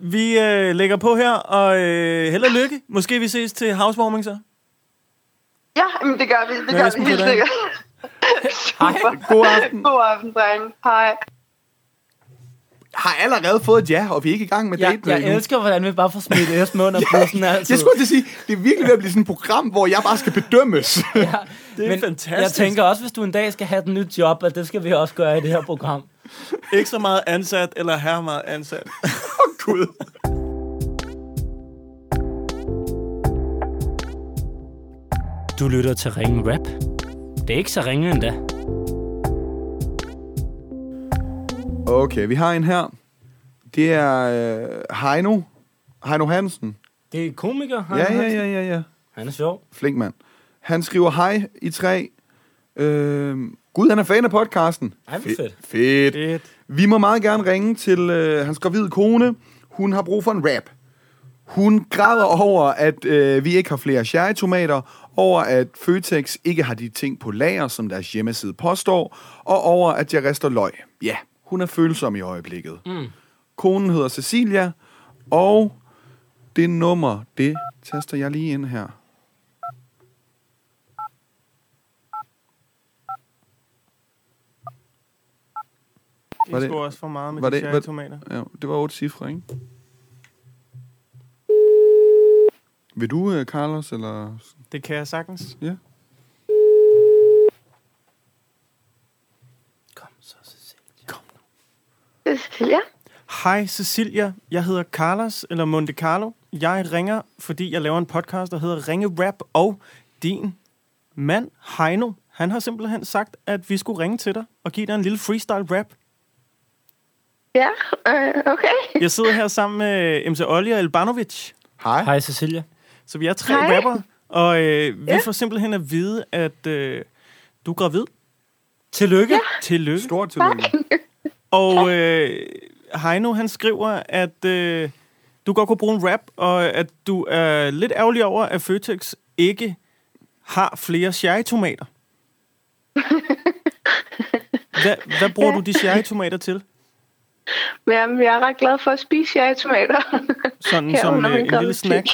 vi øh, lægger på her, og øh, held og lykke. Måske vi ses til housewarming så. Ja, men det gør vi. Det Hvad gør er vi Esben helt på dagen? sikkert. God aften. God aften, drenge. Hej. Har allerede fået et ja, og vi er ikke i gang med Jeg, daten. jeg elsker, hvordan vi bare får smidt Esben under bussen altså. altid. Jeg skulle til at sige, det er virkelig ved at blive sådan et program, hvor jeg bare skal bedømmes. Det er Men fantastisk. Jeg tænker også, hvis du en dag skal have et nyt job, at det skal vi også gøre i det her program. Ikke så meget ansat, eller her meget ansat. Gud. Du lytter til Ringen Rap. Det er ikke så ringe endda. Okay, vi har en her. Det er øh, Heino. Heino Hansen. Det er komiker. Han, Ja, ja, ja, ja, ja. Han er sjov. Flink mand. Han skriver, hej i tre. Øh, Gud, han er fan af podcasten. Ej, hvor fedt. Fedt. Vi må meget gerne ringe til øh, hans gravide kone. Hun har brug for en rap. Hun græder over, at øh, vi ikke har flere cherrytomater, over at Føtex ikke har de ting på lager, som deres hjemmeside påstår, og over at jeg rester løg. Ja, hun er følsom i øjeblikket. Mm. Konen hedder Cecilia, og det nummer, det taster jeg lige ind her. Det Var er det- sgu også for meget med var de det- var- cherrytomater. Ja, det var otte cifre, ikke? Vil du, øh, Carlos, eller... Det kan jeg sagtens. Ja. Kom så, Cecilia. Ja. Hej Cecilia, jeg hedder Carlos, eller Monte Carlo. Jeg ringer, fordi jeg laver en podcast, der hedder Ringe Rap, og din mand, Heino, han har simpelthen sagt, at vi skulle ringe til dig og give dig en lille freestyle rap. Ja, øh, okay. Jeg sidder her sammen med MC Olli og Elbanovic, Hej. Hej Cecilia. så vi er tre Hej. rapper, og øh, vi Ja. får simpelthen at vide, at øh, du er gravid. Tillykke. Ja. Tillykke. Stort tillykke. Og øh, Heino, han skriver, at øh, du godt kunne bruge en rap, og at du er lidt ærgerlig over, at Føtex ikke har flere cherrytomater. Hvad, hvad bruger du de cherrytomater til? Jamen, jeg er ret glad for at spise jer i tomater. Sådan som øh, en lille snack.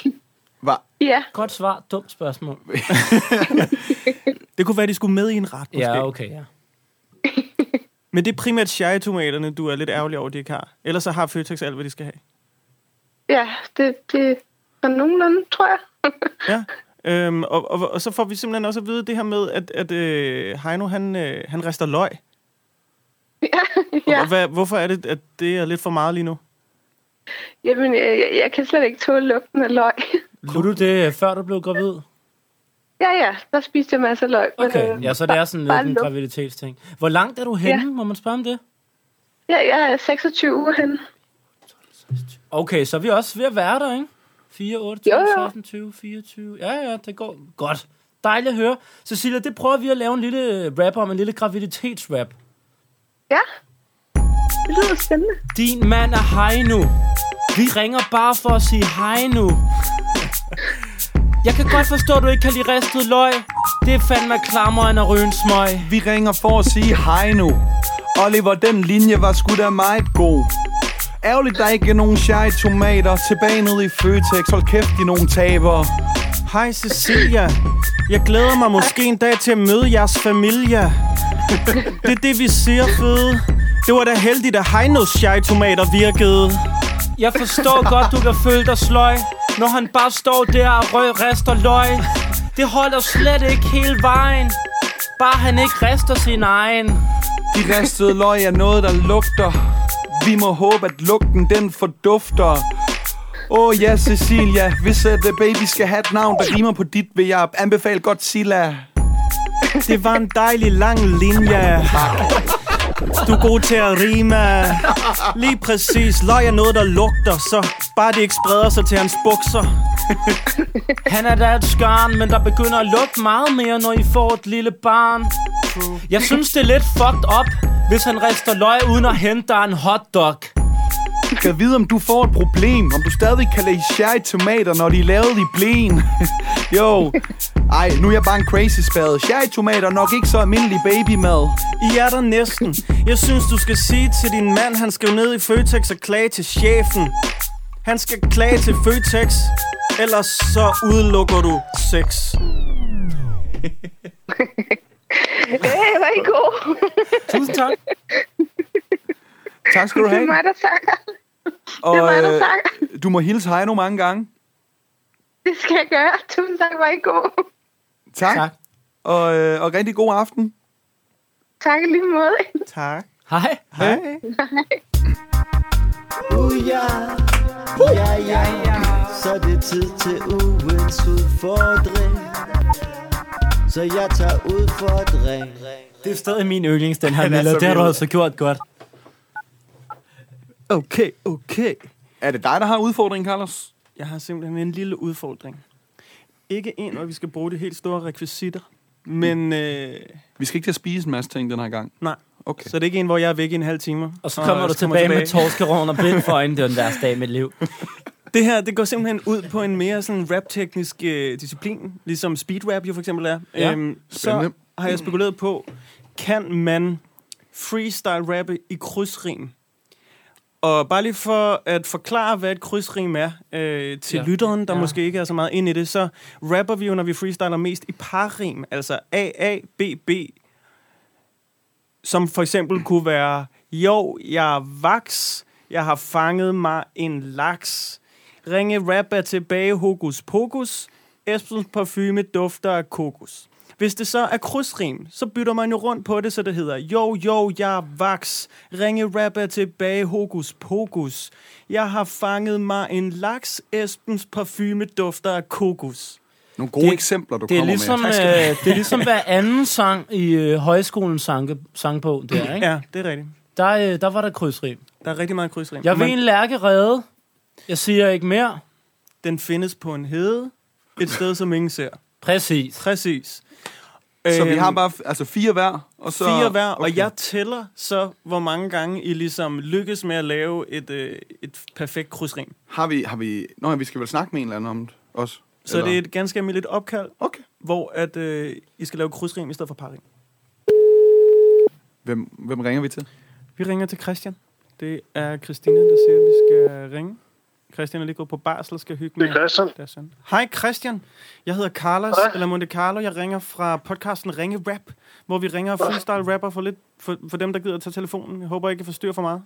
Var, Ja, Godt svar, dumt spørgsmål. Det kunne være, de skulle med i en ret, måske. Ja, okay, ja. Men det er primært cherrytomaterne, du er lidt ærgerlig over, de ikke har. Ellers så har Føtex alt, hvad de skal have. ja det, det er nogenlunde, tror jeg. Ja. Øhm, og, og, og så får vi simpelthen også at vide det her med, at, at øh, Heino, han, øh, han rester løg. ja. Og hvad, hvorfor er det, at det er lidt for meget lige nu? Jamen, øh, jeg, jeg- jeg kan slet ikke tåle lugten af løg. Kunne du det, øh, før du blev gravid? ja, ja, der spiste jeg masser af løg. men, Okay, øh, ja, så det er sådan bare lidt en lugt. graviditetsting. Hvor langt er du henne, må man spørge om det? Ja, jeg er 26 uger henne. Okay, så er vi også ved at være der, ikke? 4, 8, 20, Jo, jo. 16, 20, 24. Ja, ja, det går godt. Dejligt at høre. Cecilia, det prøver vi at lave en lille øh, rap om, en lille graviditetsrap. Ja, det lyder spændende. Din mand er hej nu. Vi ringer bare for at sige hej nu. Jeg kan godt forstå, at du ikke kan lide ristet løg. Det er fandme klammer end at ryge en smøg. vi ringer for at sige hej nu. Oliver, den linje var sgu da meget god. Ærgerligt, der ikke er nogen shy tomater. Tilbage ned i Føtex. Hold kæft, de er nogle tabere. Hej Cecilia, jeg glæder mig måske en dag til at møde jeres familie. Det er det, vi siger, fede. Det var da heldigt, at Heinos tomater virkede. Jeg forstår godt, du kan føle dig sløj Når han bare står der og røg rester løg Det holder slet ikke hele vejen Bare han ikke rester sin egen De ristede løg er noget, der lugter. Vi må håbe, at lugten den fordufter. Åh oh, ja, Cecilia, hvis at øh, baby skal have et navn, der rimer på dit, vil jeg anbefale Godzilla. Det var en dejlig lang linje. Du er god til at rime. Lige præcis. Løg er noget, der lugter, så bare det ikke spreder sig til hans bukser. Han er da et skarn, men der begynder at lugte meget mere, når I får et lille barn Jeg synes, det er lidt fucked up Hvis han rester løg uden at hente dig en hotdog Skal vide, om du får et problem. Om du stadig kan lade sherry tomater, når de er lavet i blæen. jo. Ej, nu er jeg bare en crazy spade. Sherry tomater er nok ikke så almindelig babymad. I er der næsten. Jeg synes, du skal sige til din mand, han skal jo ned i Føtex og klage til chefen. Han skal klage til Føtex, ellers så udelukker du sex. Ja, jeg var I god. Tusind tak Tak skal du Det er have. mig, der takker. Og, Det er mig, der øh, takker. du må hilse Heino mange gange. Det skal jeg gøre. Tusind tak, var I god. Tak. Tak. Og, øh, og rigtig god aften. Tak i lige måde. Tak. Hej Hej. Uja, ja, ja, ja. Så er det tid til ugens udfordring. Så jeg tager udfordring. Det er stadig min yndlings, den her Han er Miller så Det har du vild. altså gjort godt Okay, okay. Er det dig, der har udfordringen, Carlos? Jeg har simpelthen en lille udfordring. Ikke en, hvor vi skal bruge de helt store rekvisitter, men øh, Vi skal ikke til at spise en masse ting den her gang. nej. Okay. Så det er ikke en, hvor jeg er væk i en halv time. Og så kommer du tilbage, tilbage med torskerovn og blind for øjnene Det var den værste dag i mit liv Det her, det går simpelthen ud på en mere sådan rap-teknisk øh, disciplin, ligesom speed rap jo for eksempel er. Ja. Øhm, så Spændende. har jeg spekuleret på, kan man freestyle rappe i krydsrim? Og bare lige for at forklare, hvad et krydsrim er øh, til Ja. ja. lytteren, der Ja. ja. måske ikke er så meget ind i det, så rapper vi jo, når vi freestyler mest i parrim, altså A, A, B, B, som for eksempel kunne være Jo, jeg er vaks. Jeg har fanget mig en laks. Ringe rap er tilbage hokus pokus. Esbens parfume dufter af kokos. Hvis det så er krydsrim, så bytter man jo rundt på det, så det hedder Jo, jo, jeg er vaks. Ringe rap er tilbage hokus pokus. Jeg har fanget mig en laks. Esbens parfume dufter af kokos. Nogle gode det, Det- eksempler, du Det er, kommer ligesom, med. øh, det er ligesom hver anden sang i øh, højskolens sange, sangbog der, ikke? Ja, det er rigtigt. Der, øh, der var der krydsrim. Der er rigtig meget krydsrim. Jeg vil Men en lærke redde. Jeg siger ikke mere. Den findes på en hede, et sted, som ingen ser. Præcis. Præcis. Så vi Øhm, har bare f- altså fire hver, og så... fire hver, okay. og okay. jeg tæller så, hvor mange gange I ligesom lykkes med at lave et, øh, et perfekt krydsrim. Har vi... Har vi... Nå, ja, vi skal vel snakke med en eller anden om det også. Så Eller- det er et ganske almindeligt opkald, Okay. hvor at, øh, I skal lave krydsrim i stedet for parring. Hvem, hvem ringer vi til? Vi ringer til Christian. Det er Christina, der siger, at vi skal ringe. Christian er lige gået på barsel og skal hygge med Det er Christian. deres søn. Hej Christian, jeg hedder Carlos, Hej. eller Monte Carlo. Jeg ringer fra podcasten Ringe Rap, hvor vi ringer freestyle rapper for, lidt, for, for dem, der gider at tage telefonen. Jeg håber, I kan forstyrre for meget.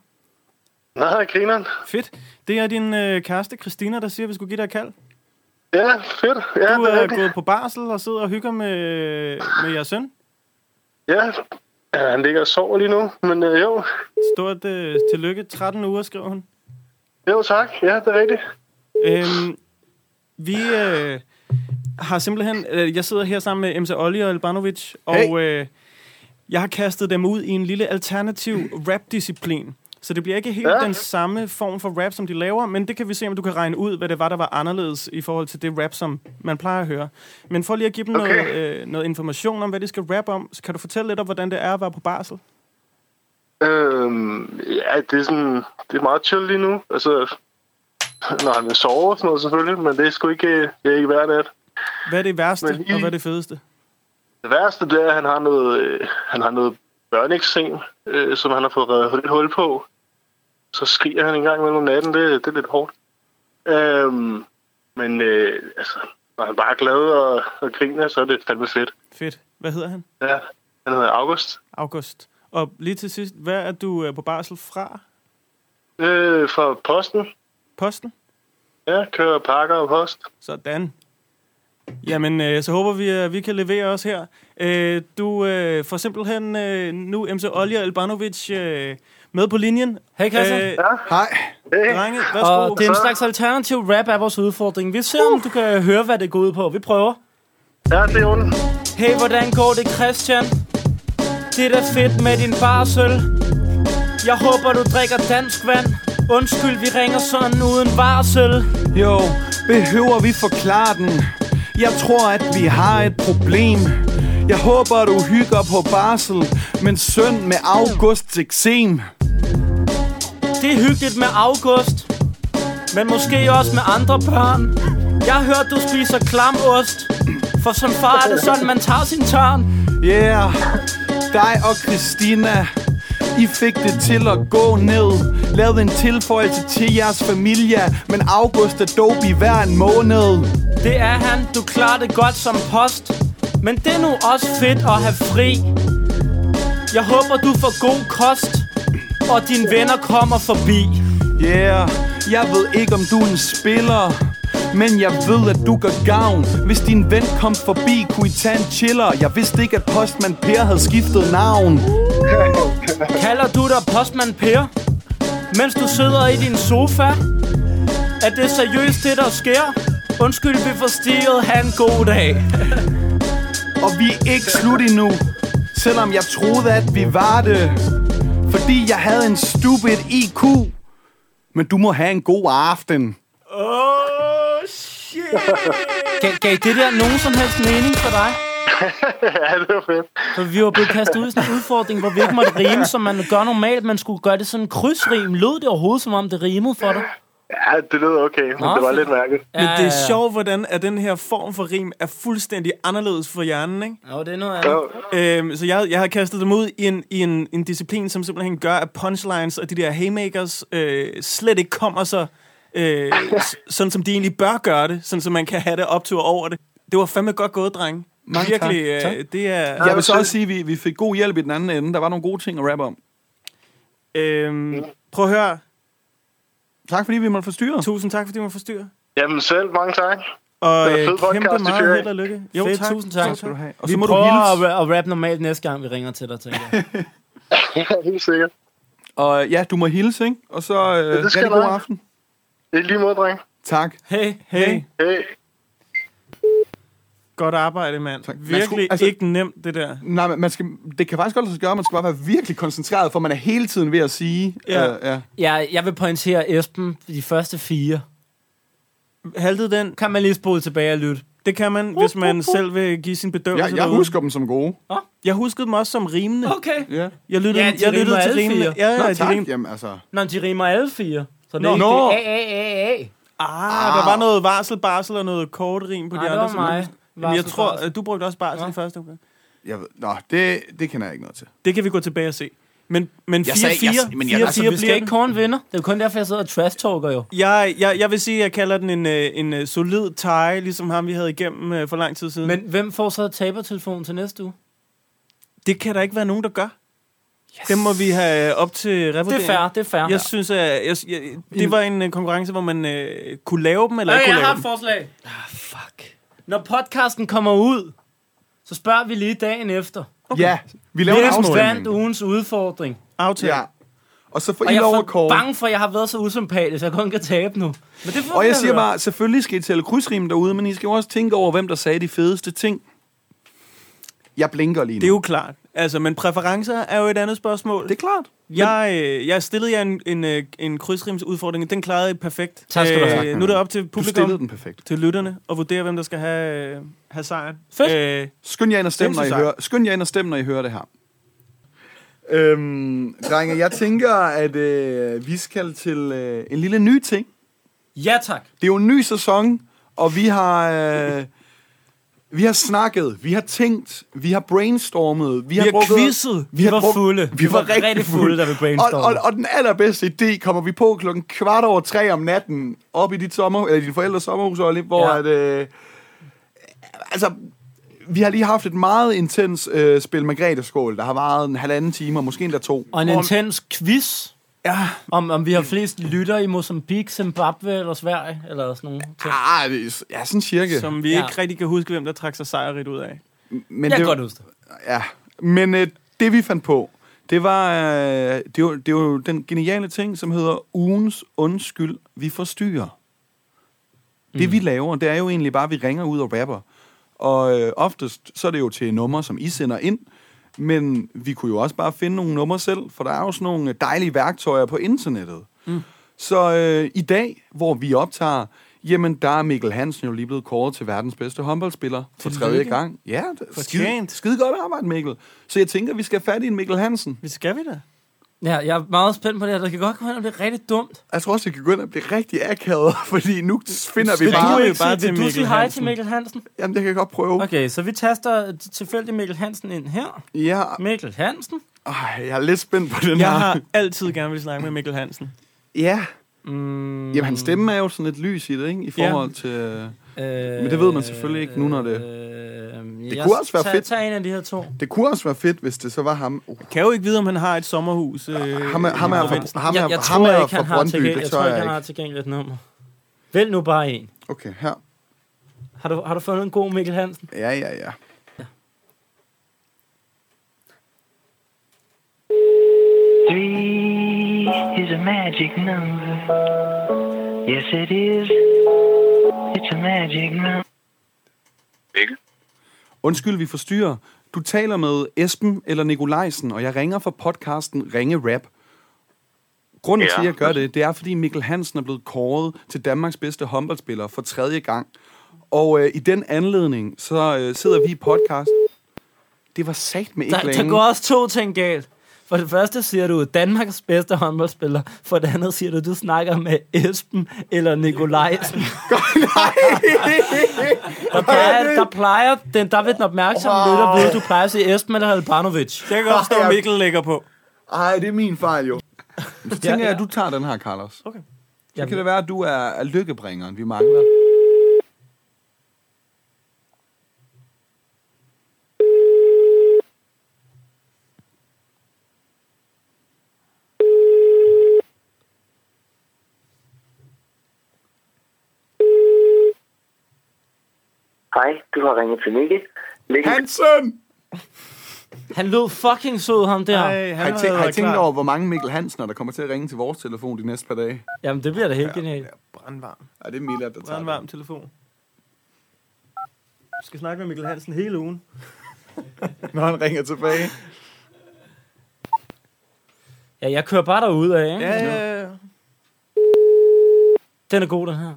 Nej, grineren. Fedt. Det er din øh, kæreste, Christina, der siger, at vi skulle give dig et kald. Ja, fedt. Ja, Du det er er rigtigt. gået på barsel og sidder og hygger med, med jeres søn. Ja. ja, han ligger og sover lige nu, men øh, jo. Stort øh, tillykke. 13 uger, skriver hun. Jo, tak. Ja, det er rigtigt. Øhm, vi øh, har simpelthen... Øh, jeg sidder her sammen med MC Olli og Albanovic, og øh, jeg har kastet dem ud i en lille alternativ rap-disciplin. Så det bliver ikke helt Ja. den samme form for rap, som de laver, men det kan vi se, om du kan regne ud, hvad det var, der var anderledes i forhold til det rap, som man plejer at høre. Men for lige at give dem okay. noget, øh, noget information om, hvad de skal rap om, så kan du fortælle lidt om, hvordan det er at være på barsel? Øhm, ja, det er sådan... Det er meget chill lige nu. Altså, når han vil sove og sådan noget selvfølgelig, men det er sgu ikke, øh, det er ikke hver nat. Hvad er det værste, Men I- og hvad er det fedeste? Det værste, det er, at han har noget, øh, han har noget børneeksem, øh, som han har fået reddet et hul på. Så skriger han en gang imellem om natten. Det, det er lidt hårdt. Øhm, men øh, altså, når han bare er glad og, og griner, så er det fandme fedt. Fedt. Hvad hedder han? Ja, han hedder August. August. Og lige til sidst, hvad er du øh, på barsel fra? Øh, fra posten. Posten? Ja, kører pakker og post. Sådan. Jamen, øh, så håber vi, at vi kan levere os her. Øh, du øh, får simpelthen øh, nu MC Olja Albanovic øh, med på linjen. Hej, Christian. Øh, Hej. drenge, værsgo. Og det er en slags alternativ rap af vores udfordring. Vi ser, om du kan høre, hvad det går ud på. Vi prøver. Ja, det er ondt. Hey, hvordan går det, Christian? Det er da fedt med din barsøl. Jeg håber, du drikker dansk vand. Undskyld, vi ringer sådan uden varsel. Jo, behøver vi forklare den? Jeg tror, at vi har et problem. Jeg håber, du hygger på barsel, men søn med Augusts eksem. Det er hyggeligt med August Men måske også med andre børn Jeg har hørt, du spiser klamost For som far er det sådan, man tager sin tørn Yeah, dig og Christina, I fik det til at gå ned. Lavede en tilføjelse til jeres familie, men August er dope i hver en måned. Det er han, du klarer det godt som post Men det er nu også fedt at have fri Jeg håber, du får god kost Og dine venner kommer forbi Yeah, jeg ved ikke om du er en spiller men jeg ved, at du gør gavn Hvis din ven kom forbi, kunne I tage en chiller Jeg vidste ikke, at postmand Per havde skiftet navn Kalder du dig postmand Per? Mens du sidder i din sofa? Er det seriøst det, der sker? Undskyld, vi forstyrrede. Ha' en god dag. Og vi er ikke slut endnu Selvom jeg troede, at vi var det Fordi jeg havde en stupid IQ Men du må have en god aften Gav, gav det der nogen som helst mening for dig? ja, det var fedt. For vi var blevet kastet ud i sådan en udfordring, hvor vi ikke måtte rime, som man gør normalt. Man skulle gøre det sådan en krydsrim. Lød det overhovedet, som om det rimede for dig? Ja, det lød okay, men Nå, det var fedt. lidt mærkeligt. Men det er sjovt, hvordan at den her form for rim er fuldstændig anderledes for hjernen, ikke? Jo, det er noget andet. Jo, Øhm, så jeg, jeg har kastet dem ud i en, i en, en disciplin, som simpelthen gør, at punchlines og de der haymakers øh, slet ikke kommer så, øh, s- sådan som de egentlig bør gøre det, sådan som man kan have det op til over det. Det var fandme godt gået, dreng. Mange tak. Virkelig, øh, Tak. det er... Jeg vil så også sige, at vi, vi fik god hjælp i den anden ende Der var nogle gode ting at rappe om Øhm, prøv at høre. Tak fordi vi måtte forstyrre. Tusind tak fordi vi måtte forstyrre. Jamen selv, mange tak. Og Det er en øh, fed podcast, kæmpe I meget kører. held og lykke. Jo, Fedt, tak. tusind tak. Jo, skal du have. Og vi så må du prøver hilse. at, ra- at rappe normalt næste gang, vi ringer til dig, tænker jeg. Ja, helt sikkert. Og øh, ja, du må hilse, ikke? Og så øh, det skal rigtig god jeg. aften. I lige måde, dreng. Tak. Hey, hey. Hey. Godt arbejde, mand. Tak. Man Virkelig skulle- altså- altså, ikke nemt, det der. Nej, men man skal, det kan faktisk godt lade sig gøre, man skal bare være virkelig koncentreret, for man er hele tiden ved at sige... Ja. Øh, ja. Jeg, jeg vil pointere Esben de første fire. Haltede den? Kan man lige spole tilbage og lytte? Det kan man, hvis man selv vil give sin bedømmelse Jeg, jeg derude. husker dem som gode. jeg huskede dem også som rimende. Okay. Ja. Jeg lyttede, Ja, de jeg rimer lyttede til alle rimende. fire. Ja, ja, Nå, de tak. rimende. Jamen, altså... Nå, de rimer alle fire. Så det er Nå. ikke Nå. det er A, A, A, A. Ah, der var noget varsel, barsel og noget kort rim på de Nej, det andre. var som mig. jeg husker. Men jeg Varsel, tror, barsel. øh, du brugte også barsel Nå. i første omgang. Jeg ved, nå, det, det kender jeg ikke noget til. Det kan vi gå tilbage og se. Men, men 4-4 Jeg sagde- jeg- men jeg- Altså, vi skal bliver ikke den. kåre en vinder. Det er jo kun derfor, jeg sidder og trash-talker jo. Jeg, jeg, jeg vil sige, at jeg kalder den en, øh, en øh, solid tie, ligesom ham, vi havde igennem øh, for lang tid siden. Men hvem får så tabertelefonen til næste uge? det kan der ikke være nogen, der gør. Yes. Det må vi have øh, op til Det revurdering. er fair, det er fair. Jeg synes, at jeg, jeg, det var en øh, konkurrence, hvor man øh, kunne lave dem, eller Øh, ikke kunne jeg har lave et dem. forslag. Ah, fuck. Når podcasten kommer ud, så spørger vi lige dagen efter. Okay. Ja, vi laver en Hvem vandt afstemning. ugens udfordring? Aftale. Ja. Og så får Og I jeg lov er at for kåre. bange for, at jeg har været så usympatisk, at jeg kun kan tabe nu. Men det får Og vi jeg at siger høre. bare, selvfølgelig skal I tælle krydsrim derude, men I skal jo også tænke over, hvem der sagde de fedeste ting. Jeg blinker lige nu. Det er jo klart. Altså, men præferencer er jo et andet spørgsmål. det er klart. Jeg, øh, jeg stillede jer en, en, øh, en krydsrimsudfordring. Den klarede I perfekt. Øh, Tak skal du have. nu er det op til Du stillede publikum, den perfekt. til lytterne, at vurdere, hvem der skal have, øh, have sejren. Fedt. Øh, Skynd jer ind og stem, Den når I synes jeg. hører, skynd jer ind og stem, når I hører det her. Øhm, drenge, jeg tænker, at øh, vi skal til øh, en lille ny ting. Ja tak. Det er jo en ny sæson, og vi har... Øh, vi har snakket, vi har tænkt, vi har brainstormet, vi, vi har, har drukket- quizzet. Vi var drukket- fulde. Vi, var, rigtig, fulde, da vi og, brainstormede. og, og, den allerbedste idé kommer vi på klokken kvart over tre om natten, op i dit sommer, eller dine forældres sommerhus, Olli, hvor ja. Ja. at, øh, altså, vi har lige haft et meget intens øh, spil med skål, der har varet en halvanden time, og måske endda to. og en intens quiz. Ja, Om, om vi har flest lytter i Mozambique, Zimbabwe eller Sverige, eller sådan nogle ting. ah, det er- ja, sådan cirka. Som vi Ja. ikke rigtig kan huske, hvem der trak sig sejrigt ud af. men Jeg kan det, godt huske det. Ja, men øh, det vi fandt på, det var, øh, det, var, det var den geniale ting, som hedder ugens undskyld, vi forstyrrer. Det Mm. vi laver, det er jo egentlig bare, at vi ringer ud og rapper. Og øh, oftest, så er det jo til numre, som I sender ind, men vi kunne jo også bare finde nogle numre selv, for der er jo sådan nogle dejlige værktøjer på internettet. Mm. Så øh, i dag, hvor vi optager, jamen der er Mikkel Hansen jo lige blevet kåret til verdens bedste håndboldspiller for tredje gang. Ja, det er skide, Fortjent. skide godt arbejde, Mikkel. Så jeg tænker, vi skal have fat i en Mikkel Hansen. Hvad skal vi da? Ja, jeg er meget spændt på det her. Det kan godt komme hen og blive rigtig dumt. Jeg tror også, det kan gå ind og blive rigtig akavet, fordi nu finder vi Vil bare... du ikke Bare sige, til Vil du sige hej til Mikkel Hansen? Jamen, det kan jeg godt prøve. Okay, så vi taster tilfældig Mikkel Hansen ind her. Ja, Mikkel Hansen? øh, jeg er lidt spændt på den her. Jeg har altid gerne vil snakke med Mikkel Hansen. Ja. Mm, Jamen, hans stemme er jo sådan lidt lys i det, ikke? I Ja. forhold til... øh, men det ved man selvfølgelig ikke nu, når det- Øh, Det jeg kunne også være tager, fedt. Tag en af de her to. Det kunne også være fedt, hvis det så var ham. Uh, Kan jo ikke vide, om han har et sommerhus. Øh, ham er, ham er, i fra, provinsen. ham er, jeg, jeg ham tror er ikke, han fra har, Brøndby, tilgæ- det jeg tør tror ikke, jeg han har ikke. tilgængeligt nummer. Vælg nu bare en. Okay, her. Har du, har du fundet en god Mikkel Hansen? Ja, ja, ja. Three is a magic number. Yes, it is. It's a magic number. Mikkel? Undskyld, vi forstyrrer. Du taler med Esben eller Nikolajsen, og jeg ringer fra podcasten Ringe Rap. Grunden ja. Ja. til, at jeg gør det, det er, fordi Mikkel Hansen er blevet kåret til Danmarks bedste håndboldspiller for tredje gang. Og øh, i den anledning, så øh, sidder vi i podcast. Det var sat med ikke Der, der længe. går også to ting galt. For det første siger du, Danmarks bedste håndboldspiller. For det andet siger du, du snakker med Esben eller Nikolajsen. der, plejer, der plejer den, der vil den opmærksomme wow. lytter vide, du plejer at sige Esben eller Halbanovic. Jeg kan godt forstå, at Mikkel lægger på. Ej, det er min fejl jo. Så tænker Ja, jeg, ja. at du tager den her, Carlos. Okay. Så Jamen. kan det være, at du er, er lykkebringeren, vi mangler. Hej, du har ringet til Mikkel. Mikkel. Hansen! Han lød fucking sød, ham der. Ej, har I, tænkt, har I tænkt over, hvor mange Mikkel Hansener, der kommer til at ringe til vores telefon de næste par dage? Jamen, det bliver da helt genialt. Brandvarm. Ja, det er Mila, der tager Brandvarm telefon. Du skal snakke med Mikkel Hansen hele ugen. det, når han ringer tilbage. Ja, jeg kører bare derud af, ikke? Ja, ja, ja. Den er god, den her.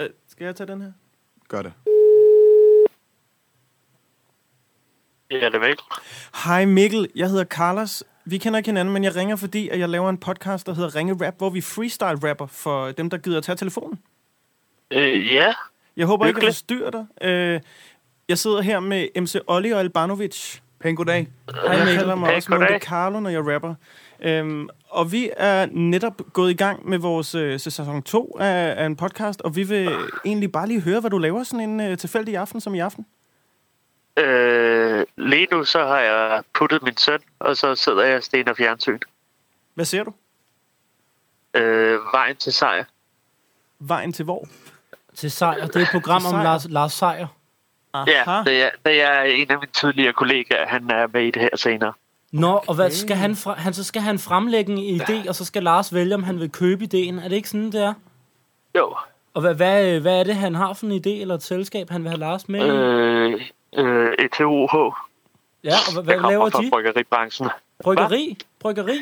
Øh, Skal jeg tage den her? Gør det. Ja, det er væk. Hej Mikkel, jeg hedder Carlos. Vi kender ikke hinanden, men jeg ringer, fordi at jeg laver en podcast, der hedder Ringe Rap, hvor vi freestyle rapper for dem, der gider at tage telefonen. Øh, ja. Jeg håber ikke, at jeg Hyggeligt. forstyrrer dig. Øh, jeg sidder her med MC Olli og Albanovic. Pæn goddag. Mikkel. Hej Mikkel. Jeg kalder mig Hej, også Monte goddag. Carlo, når jeg rapper. Øhm, og vi er netop gået i gang med vores øh, sæson 2 af, af en podcast, og vi vil egentlig bare lige høre, hvad du laver sådan en øh, tilfældig aften som i aften. Øh, lige nu så har jeg puttet min søn, og så sidder jeg og stener fjernsyn. Hvad ser du? Øh, vejen til sejr. Vejen til hvor? Til Sejr. Det er et program om Sejr. Lars, Lars Sejr. Ja, det er, det er en af mine tidligere kollegaer, han er med i det her senere. Nå, og hvad skal han, fra, han, så skal han fremlægge en idé, og så skal Lars vælge, om han vil købe ideen. Er det ikke sådan, det er? Jo, Og hvad, hvad, øh, hvad er det, han har for en idé eller et selskab, han vil have Lars med? i? øh, øh, ETUH, Ja, og hvad, jeg hvad kommer laver fra de? bryggeribranchen. Bryggeri? Bryggeri?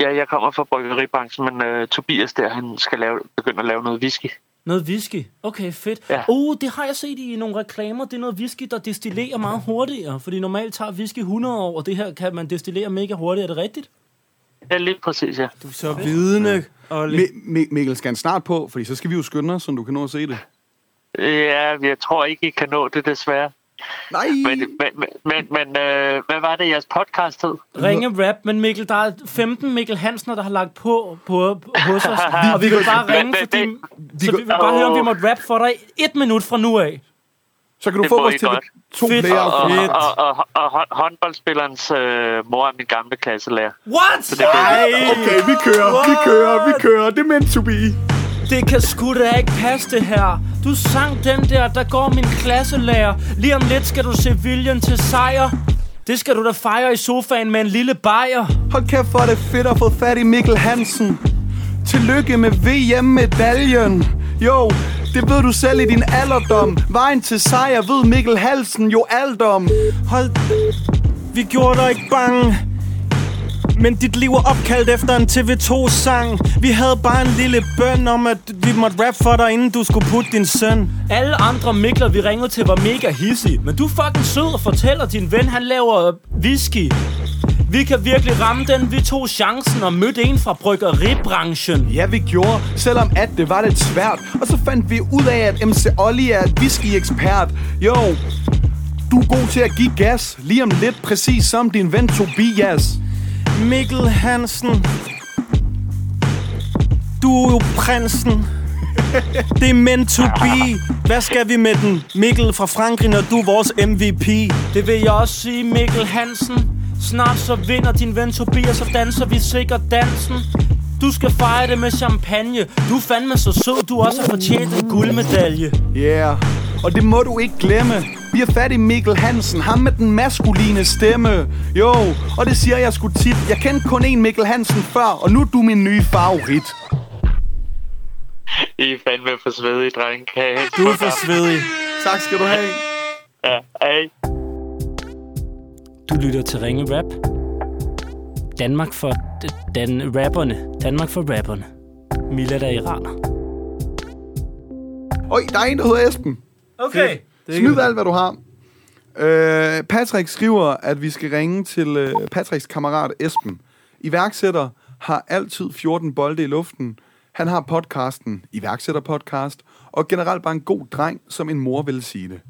Ja, jeg kommer fra bryggeribranchen, men øh, Tobias der, han skal lave, begynde at lave noget whisky. Noget whisky? Okay, fedt. Ja. Ja. Uh, det har jeg set i nogle reklamer. Det er noget whisky, der destillerer meget hurtigere. Fordi normalt tager whisky 100 år, og det her kan man destillere mega hurtigt. Er det rigtigt? Ja, lige præcis, ja. Du er så vidne, Olli. Mi- Mi- Mikkel, skal han snart på? Fordi så skal vi jo skynde os, så du kan nå at se det. Øh, Ja, jeg tror ikke, I kan nå det desværre. Nej! Men, men, men, men, men øh, hvad var det, jeres podcast hed? Ringe rap, men Mikkel, der er 15 Mikkel Hansner, der har lagt på, på hos os. og vi vil bare ringe, Men- fordi, men- så vi vil bare høre, om vi måtte rap for dig et minut fra nu af. Så kan du Det få må vores I tele- godt. to Fedt. player. Og, Fedt. og, og, og, og hå- håndboldspillerens øh, mor er min gamle klasselærer. What? Det er fedt. Okay, vi kører, vi kører, vi kører. Det er meant to be. Det kan sgu da ikke passe det her. Du sang den der, der går min klasselærer. Lige om lidt skal du se viljen til sejr. Det skal du da fejre i sofaen med en lille bajer. Hold kæft, hvor er det fedt at få fat i Mikkel Hansen. Tillykke med VM-medaljen. Jo, det ved du selv i din alderdom. Vejen til sejr ved Mikkel Hansen jo alt om. Hold... Vi gjorde dig ikke bange. Men dit liv er opkaldt efter en TV2-sang. Vi havde bare en lille bøn om, at vi måtte rap for dig, inden du skulle putte din søn. Alle andre Mikler, vi ringede til, var mega hissige. Men du er fucking sød og fortæller din ven, han laver øh, whisky. Vi kan virkelig ramme den. Vi tog chancen og mødte en fra bryggeribranchen. Ja, vi gjorde, selvom at det var lidt svært. Og så fandt vi ud af, at MC Olli er et whisky-ekspert. Jo, du er god til at give gas. Lige om lidt, præcis som din ven Tobias. Mikkel Hansen. Du er jo prinsen. Det er meant to be. Hvad skal vi med den? Mikkel fra Frankrig, når du er vores MVP. Det vil jeg også sige, Mikkel Hansen. Snart så vinder din ven Tobias, og danser vi sikkert dansen. Du skal fejre det med champagne. Du er fandme så sød, du også har fortjent en guldmedalje. Yeah. Og det må du ikke glemme. Vi har fat i Mikkel Hansen, ham med den maskuline stemme. Jo, og det siger jeg sgu tit. Jeg kendte kun én Mikkel Hansen før, og nu er du min nye favorit. I er fandme for svedige, dreng. Du er for svedig. Tak skal du have. Ja, ej. Du lytter til Ringe Rap. Danmark for d- dan- rapperne. Danmark for rapperne. Mila der er iraner. Øj, der er en, der hedder Esben. Okay. Smid alt, hvad du har. Øh, Patrick skriver, at vi skal ringe til øh, Patricks kammerat Esben. Iværksætter har altid 14 bolde i luften. Han har podcasten, iværksætterpodcast, og generelt bare en god dreng, som en mor ville sige det.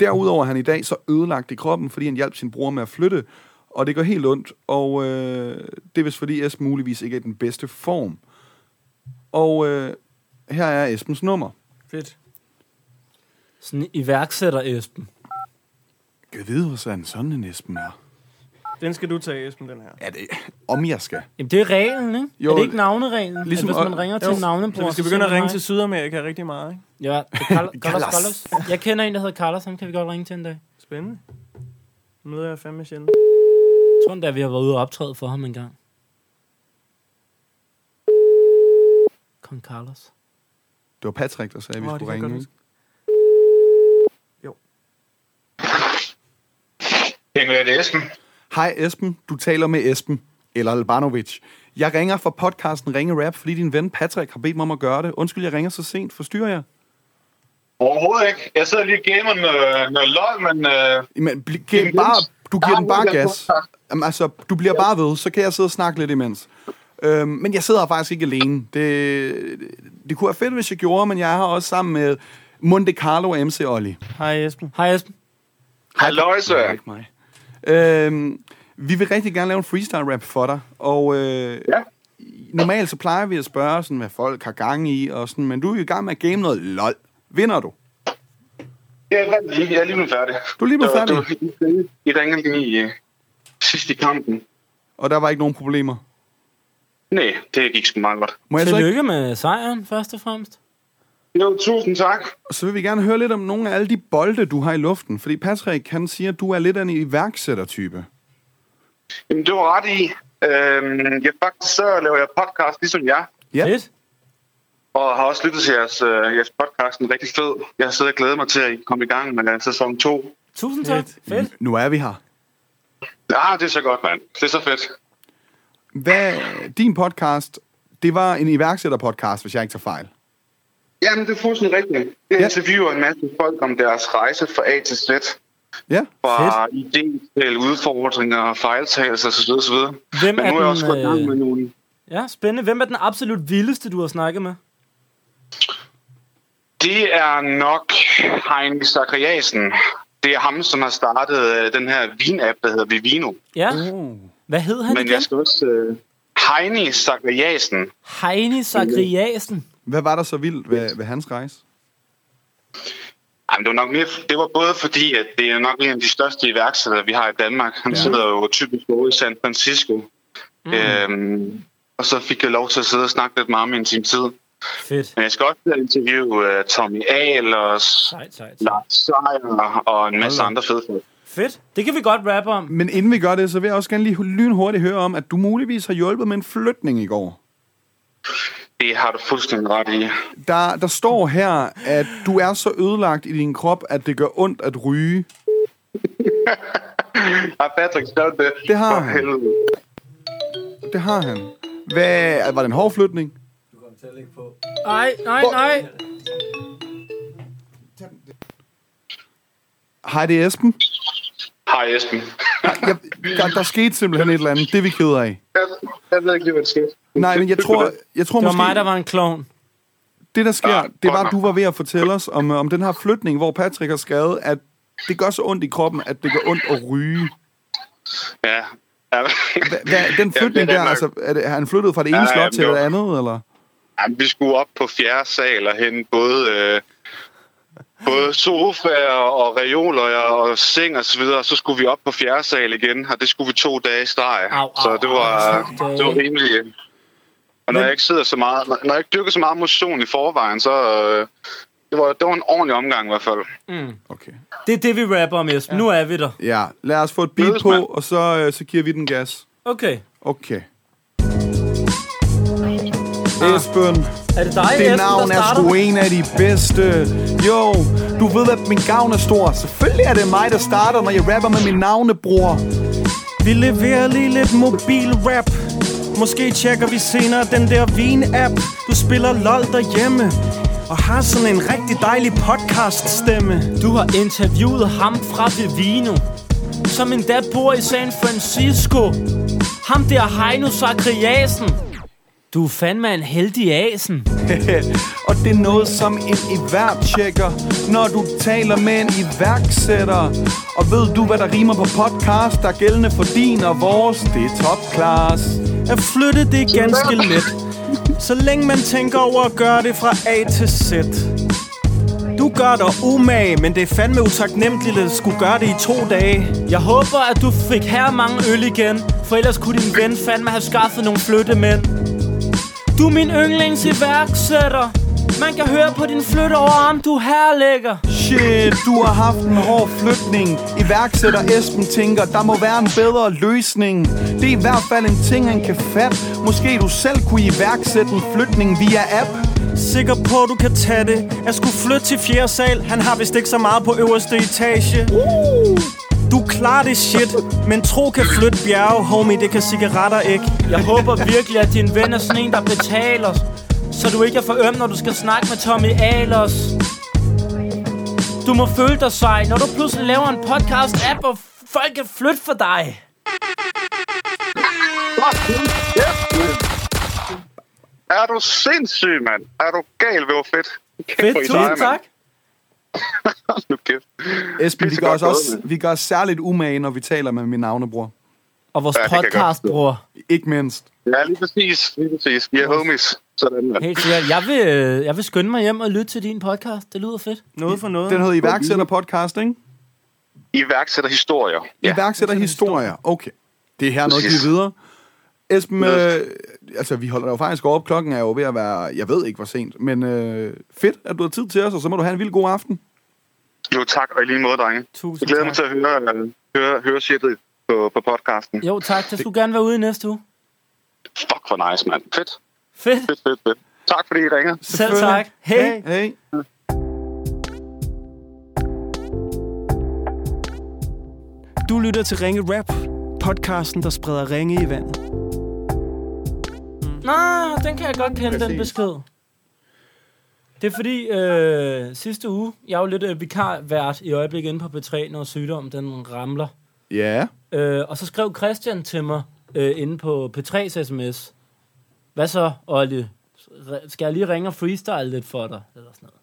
Derudover er han i dag så ødelagt i kroppen, fordi han hjalp sin bror med at flytte, og det går helt ondt, og øh, det er vist fordi Esben muligvis ikke er i den bedste form. Og øh, her er Esbens nummer. Fedt. Sådan en iværksætter, Esben. Kan vide, hvor sådan en Esben er? Den skal du tage, Esben, den her. Ja, det... øh, Om jeg skal. Jamen, det er reglen, ikke? Jo. Jo, er det ikke navnereglen? Ligesom, Ligesom- at hvis man ringer Jo. til navnebror... Så vi skal begynde at ringe til Sydamerika rigtig meget, ikke? Ja, Carlos, Carlos, Carlos. Jeg kender en, der hedder Carlos. Ham kan vi godt ringe til en dag. Spændende. Nu møder jeg fandme sjældent. Jeg tror endda, vi har været ude og optræde for ham en gang. Kong Carlos. Det var Patrick, der sagde, at vi Åh, oh, det skulle kan jeg ringe. godt ikke? Jeg det er Esben. Hej Esben, du taler med Esben, eller Albanovic. Jeg ringer fra podcasten Ringe Rap, fordi din ven Patrick har bedt mig om at gøre det. Undskyld, jeg ringer så sent. Forstyrrer jeg? Overhovedet ikke. Jeg sidder lige og gamer noget, noget løg, men... Øh, Men bl- giv den bare, du giver den bare gas. Jamen, altså, du bliver bare ved, så kan jeg sidde og snakke lidt imens. Øhm, men jeg sidder her faktisk ikke alene. Det, det kunne være fedt, hvis jeg gjorde, men jeg er her også sammen med Monte Carlo og MC Olli. Hej Esben. Hej Esben. Halløjse. Ikke mig. Øhm, vi vil rigtig gerne lave en freestyle rap for dig, og øh, ja. normalt så plejer vi at spørge, sådan, hvad folk har gang i, og sådan, men du er jo i gang med at game noget lol. Vinder du? Jeg er vandt lige. Jeg er lige blevet færdig. Du er lige blevet Så færdig. Øh, Du, I ringede lige i, øh, sidst i kampen. Og der var ikke nogen problemer. Nej, det gik sgu meget godt. Må jeg så Tillykke ikke- med sejren, først og fremmest. Jo, tusind tak. Og så vil vi gerne høre lidt om nogle af alle de bolde, du har i luften. Fordi Patrick, han siger, at du er lidt af en iværksættertype. Jamen, du har ret i. Øhm, jeg faktisk så laver jeg podcast, ligesom jer. Ja. Fedt. Og har også lyttet til jeres, øh, jeres podcast. Den er rigtig fed. Jeg sidder og glæder mig til, at I kommer i gang med øh, sæson 2. Tusind tak. Fedt. Nu er vi her. Ja, Ah, det er så godt, mand. Det er så fedt. Hvad, din podcast, det var en iværksætterpodcast, hvis jeg ikke tager fejl. Jamen, det er fuldstændig rigtigt. Jeg interviewer en masse folk om deres rejse fra A til Z. Ja, Fra idé til udfordringer og fejltagelser osv. osv. Hvem Men er nu er jeg den, også gået i gang øh, med nogle... Ja, spændende. Hvem er den absolut vildeste, du har snakket med? Det er nok Heinrich Zachariasen. Det er ham, som har startet øh, den her vinapp, der hedder Vivino. Ja. Hvad hed han Men igen? jeg skal også... Øh, Heini Zachariasen. Heini Zagriasen. Hvad var der så vildt ved, ved hans rejse? Jamen, det, var nok mere, det var både fordi, at det er nok en af de største iværksættere, vi har i Danmark. Han ja. sidder jo typisk over i San Francisco. Mm. Øhm, og så fik jeg lov til at sidde og snakke lidt med ham i en time tid. Fedt. Men jeg skal også interviewe uh, Tommy Ahl og Lars Seier og en masse andre fede folk. Fedt. Det kan vi godt rappe om. Men inden vi gør det, så vil jeg også gerne lige lynhurtigt høre om, at du muligvis har hjulpet med en flytning i går. Det har du fuldstændig ret i. Der, der står her, at du er så ødelagt i din krop, at det gør ondt at ryge. Har Ah, Patrick skrevet det? Det har For han. helvede. Det har han. Hvad, altså, var det en hård flytning? Nej, nej, nej. Hej, det er Esben. Hej Esben. Jeg, der, der skete simpelthen et eller andet. Det er vi ked af. Jeg, jeg ved ikke lige, hvad der skete. Nej, men jeg tror, jeg tror Det var måske... mig, der var en klovn. Det, der sker, Ah, det var, at du var ved at fortælle os om, øh, om den her flytning, hvor Patrick har skrevet, at det gør så ondt i kroppen, at det gør ondt at ryge. Ja. Ja. Hvad, den flytning det er der, nok- altså, er det, har han flyttet fra det ene Ja, slot jamen, til det det var- andet, eller? Jamen, vi skulle op på fjerde sal og hente både, øh, både sofaer og reoler og seng og så videre. Så skulle vi op på fjerde sal igen, og det skulle vi to dage i streg. Au, au, så det var, au, to det var dage. rimelig... øh. Og når jeg ikke sidder så meget, når når jeg ikke dyrker så meget motion i forvejen, så øh, det var, det var en ordentlig omgang i hvert fald. Mm. Okay. Det er det, vi rapper om, Esben. Ja. Nu er vi der. Ja, lad os få et beat på, og så, øh, så giver vi den gas. Okay. Ah. Okay. Esben. Er det dig, Det Esben, navn der er starter? sgu en af de bedste. Jo, du ved, at min gavn er stor. Selvfølgelig er det mig, der starter, når jeg rapper med min navnebror. Vi leverer lige lidt mobil rap Måske tjekker vi senere den der vin-app Du spiller LOL derhjemme Og har sådan en rigtig dejlig podcast stemme Du har interviewet ham fra Vivino Som endda bor i San Francisco Ham der Heino Zagriasen Du er fandme en heldig asen og det er noget som en iværksætter, når du taler med en iværksætter. Og ved du, hvad der rimer på podcast, der er gældende for din og vores? Det er top class. At flytte det er ganske let Så længe man tænker over at gøre det fra A til Z Du du gør dig umage, men det er fandme utaknemmeligt at skulle gøre det i to dage. Jeg håber, at du fik her mange øl igen, for ellers kunne din ven fandme have skaffet nogle flyttemænd. Du er min yndlings iværksætter. Man kan høre på din flytte over, om du herlægger. Shit, du har haft en hård flytning. Iværksætter Esben tænker, der må være en bedre løsning. Det er i hvert fald en ting, han kan fatte. Måske du selv kunne iværksætte en flytning via app. Sikker på, du kan tage det. Jeg skulle flytte til fjerde sal. Han har vist ikke så meget på øverste etage. Uh. Du klarer det shit, men tro kan flytte bjerge, homie. Det kan cigaretter ikke. Jeg håber virkelig, at din ven er sådan en, der betaler. Så du ikke er for øm, når du skal snakke med Tommy Ahlers. Du må føle dig sej, når du pludselig laver en podcast-app, hvor folk kan flytte for dig. Er du sindssyg, mand? Er du gal, hvor fedt. Kæft, Fedt, hvor I seje, tusind mand. tak. Hold Nu kæft. Esben, vi Pisse gør, os godt også, gået, vi gør os særligt umage, når vi taler med min navnebror. Og vores Ja, det kan jeg godt podcastbror. Ikke mindst. Ja, lige præcis. Lige præcis. Vi er homies. Sådan, mand. Helt sikkert. Jeg vil, øh, jeg vil skynde mig hjem og lytte til din podcast. Det lyder fedt. Noget for noget. Den hedder iværksætterpodcast, ikke? Iværksætterhistorier. Ja. Iværksætterhistorier. Okay. Det er her noget, Præcis. vi videre. Esben, Yes. øh, altså vi holder jo faktisk op. Klokken er jo ved at være, jeg ved ikke hvor sent, men øh, fedt, at du har tid til os, og så må du have en vild god aften. Jo, tak. Og i lige måde, drenge. jeg Tusind glæder tak. mig til at høre, øh, høre, høre shitet på, på podcasten. Jo, tak. Det skulle gerne være ude i næste uge. Fuck, hvor nice, mand. Fedt. Fedt. Fedt, fedt, fedt. Tak, fordi I ringede. Selv tak. Hej. Hey. Du lytter til Ringe Rap, podcasten, der spreder ringe i vandet. Nå, den kan jeg godt kende, den besked. Det er fordi, øh, sidste uge, jeg er jo lidt øh, vikarvært i øjeblikket inde på B3, når sygdommen den ramler. Ja. Øh, og så skrev Christian til mig øh, inde på P3's sms. Hvad så, Olli? Re- Skal jeg lige ringe og freestyle lidt for dig? Eller sådan noget.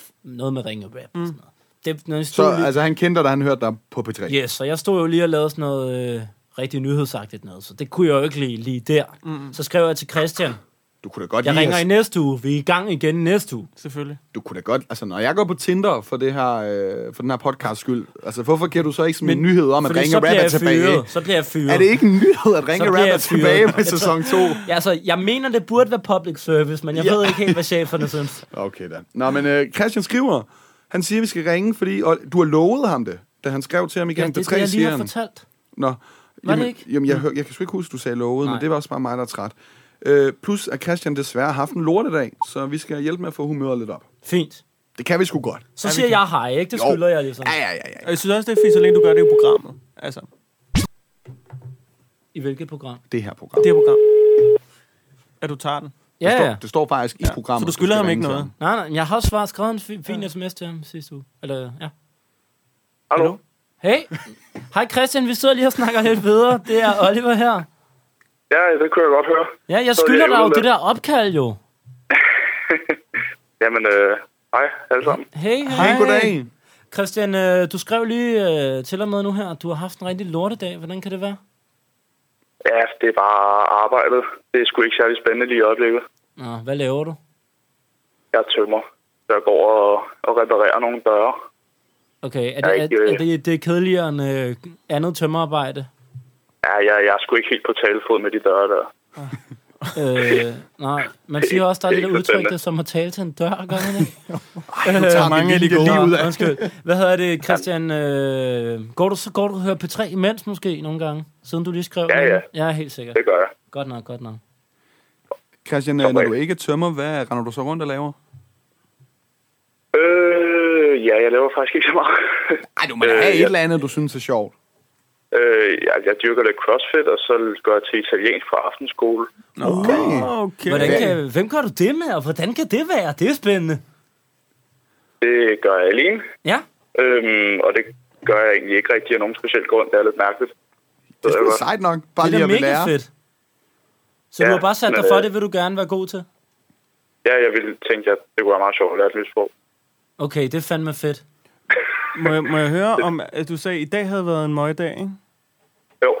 F- Noget med ringe og rap. Mm. Sådan noget. Det, når jeg Så stod lige, altså, han kendte dig, da han hørte dig på P3. Yes, og jeg stod jo lige og lavede sådan noget øh, rigtig nyhedsagtigt noget, så det kunne jeg jo ikke lige, lige der. Mm. Så skrev jeg til Christian. Du kunne da godt Jeg lide ringer at- i næste uge. Vi er i gang igen næste uge. Selvfølgelig. Du kunne da godt, altså når jeg går på Tinder for, det her, øh, for den her podcast skyld, altså hvorfor giver du så ikke sådan en nyhed om, at Fordi Ringe så bliver Rap er jeg tilbage? fyret. Så bliver jeg fyret. Er det ikke en nyhed, at Ringe Så bliver Rap er jeg fyret. tilbage med Jeg tror- sæson 2? Ja, altså, jeg mener, det burde være public service, men jeg Ja. ved ikke helt, hvad cheferne synes. Okay da. Nå, men øh, Christian skriver, han siger, vi skal ringe, fordi og, du har lovet ham det, da han skrev til ham Ja, igen det på er det, tre jeg lige siger har han. fortalt. Nå, Var det jamen, ikke? Jamen, jeg, hør, jeg kan sgu ikke huske, du sagde lovet, men det var også bare mig, der er træt. Øh, plus, at Christian desværre har haft en lortedag, så vi skal hjælpe med at få humøret lidt op. Fint. Det kan vi sgu godt. Så siger jeg hej, ikke? Det Jo. skylder jeg ligesom. Ja, ja, ja, ja. Og jeg synes også, det er fint, så længe du gør det i programmet. Altså, I hvilket program? Det her program. det er program. At du tager den. Ja, det, står, ja. det står faktisk i programmet. Så du skylder skal ham ikke ringe til noget. Nej, nej, jeg har også svaret skrevet en fi- fin sms til ham sidste uge. Eller, ja. Hallo? Hey. Hej Christian, vi sidder lige og snakker lidt videre. Det er Oliver her. Ja, det kunne jeg godt høre. Ja, jeg Så er det skylder dig jo Oliver. det der opkald jo. Jamen, øh, hej alle sammen. Hey, hej. Hej, goddag. Christian, øh, du skrev lige øh, til og med nu her, at du har haft en rigtig lortedag. Hvordan kan det være? Ja, det er bare arbejdet. Det er sgu ikke særlig spændende lige i øjeblikket. Nå, hvad laver du? Jeg tømmer. Så jeg går og, og reparerer nogle døre. Okay, er Jeg er det, ikke, er, øh, er det, det er kedeligere end øh, andet tømmerarbejde? Ja, jeg, jeg er sgu ikke helt på talefod med de døre der. øh, nej, man siger også, der er det Det er der ikke udtryk, spændende. der som at tale til en dør, gør man ikke? nu Øh, tager vi mange af de lige gode. det lige ud af. Undskyld. Hvad hedder det, Christian? Øh, går, du, så går du og hører P3 imens måske nogle gange, siden du lige skrev? Ja, den? ja. Ja, helt sikkert. Det gør jeg. Godt nok, godt nok. Christian, øh, når du ikke tømmer, hvad render du så rundt og laver? Øh, ja, jeg laver faktisk ikke så meget. Ej, du må da have et eller andet, du synes er sjovt. Øh, jeg, jeg dyrker lidt crossfit, og så går jeg til italiensk fra aftenskole. Okay. Okay. Hvordan kan, hvem gør du det med, og hvordan kan det være? Det er spændende. Det gør jeg alene. Ja, Øhm, og det gør jeg egentlig ikke rigtig af nogen speciel grund. Det er lidt mærkeligt. Det er sgu sejt nok, bare det lige er at da ville mega lære. fedt. Så Ja, du har bare sat men, dig for, øh, det vil du gerne være god til? Ja, jeg ville tænke, at det kunne være meget sjovt at lære et nyt sprog. Okay, det er fandme fedt. Må jeg, må jeg høre om, at du sagde, at i dag havde været en møgdag, ikke? Jo,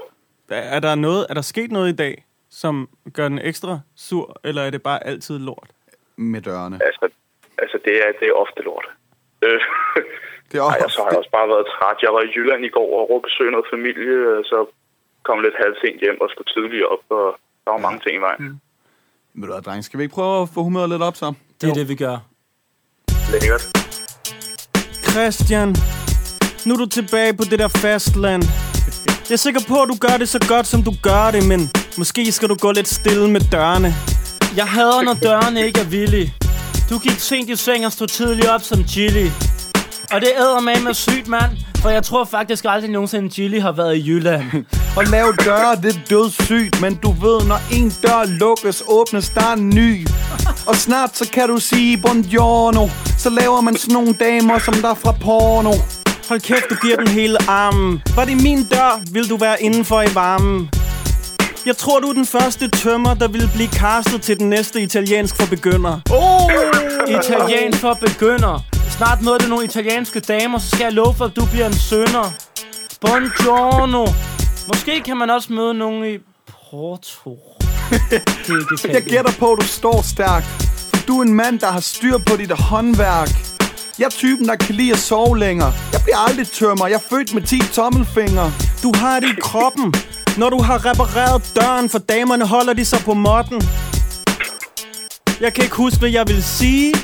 Er, er, der noget, er der sket noget i dag, som gør den ekstra sur, eller er det bare altid lort? Med dørene. altså, altså det, er, det er ofte lort. Øh, det er Ej, og så har jeg også bare været træt. Jeg var i Jylland i går og over at besøge noget familie, og så kom lidt halvsent hjem og skulle tidligt op, og der var mange ting i vejen. Mm. Men du hvad, dreng, skal vi ikke prøve at få humøret lidt op så? Det er det, vi gør. Lækkert. Christian, nu er du tilbage på det der fastland. Jeg er sikker på, at du gør det så godt, som du gør det, men måske skal du gå lidt stille med dørene. Jeg hader, når dørene ikke er villige. Du gik sent i seng og stod tidligt op som Chili. Og det æder med med sygt, mand. For jeg tror faktisk aldrig nogensinde, Chili har været i Jylland. Og lave døre, det er dødssygt, men du ved, når en dør lukkes, åbnes der en ny. Og snart så kan du sige buongiorno, så laver man sådan nogle damer, som der er fra porno. Hold kæft, du giver den hele armen. Var det min dør, vil du være indenfor i varmen. Jeg tror, du er den første tømmer, der vil blive castet til den næste italiensk for begynder. Oh! Italiensk for begynder. Snart møder du nogle italienske damer, så skal jeg love for, at du bliver en sønder. Buongiorno. Måske kan man også møde nogen i Porto. det Jeg gætter på, at du står stærkt. For du er en mand, der har styr på dit håndværk. Jeg er typen, der kan lide at sove længere. Jeg bliver aldrig tømmer. Jeg er født med 10 tommelfingre. Du har det i kroppen. Når du har repareret døren, for damerne holder de sig på måtten. Jeg kan ikke huske, hvad jeg vil sige,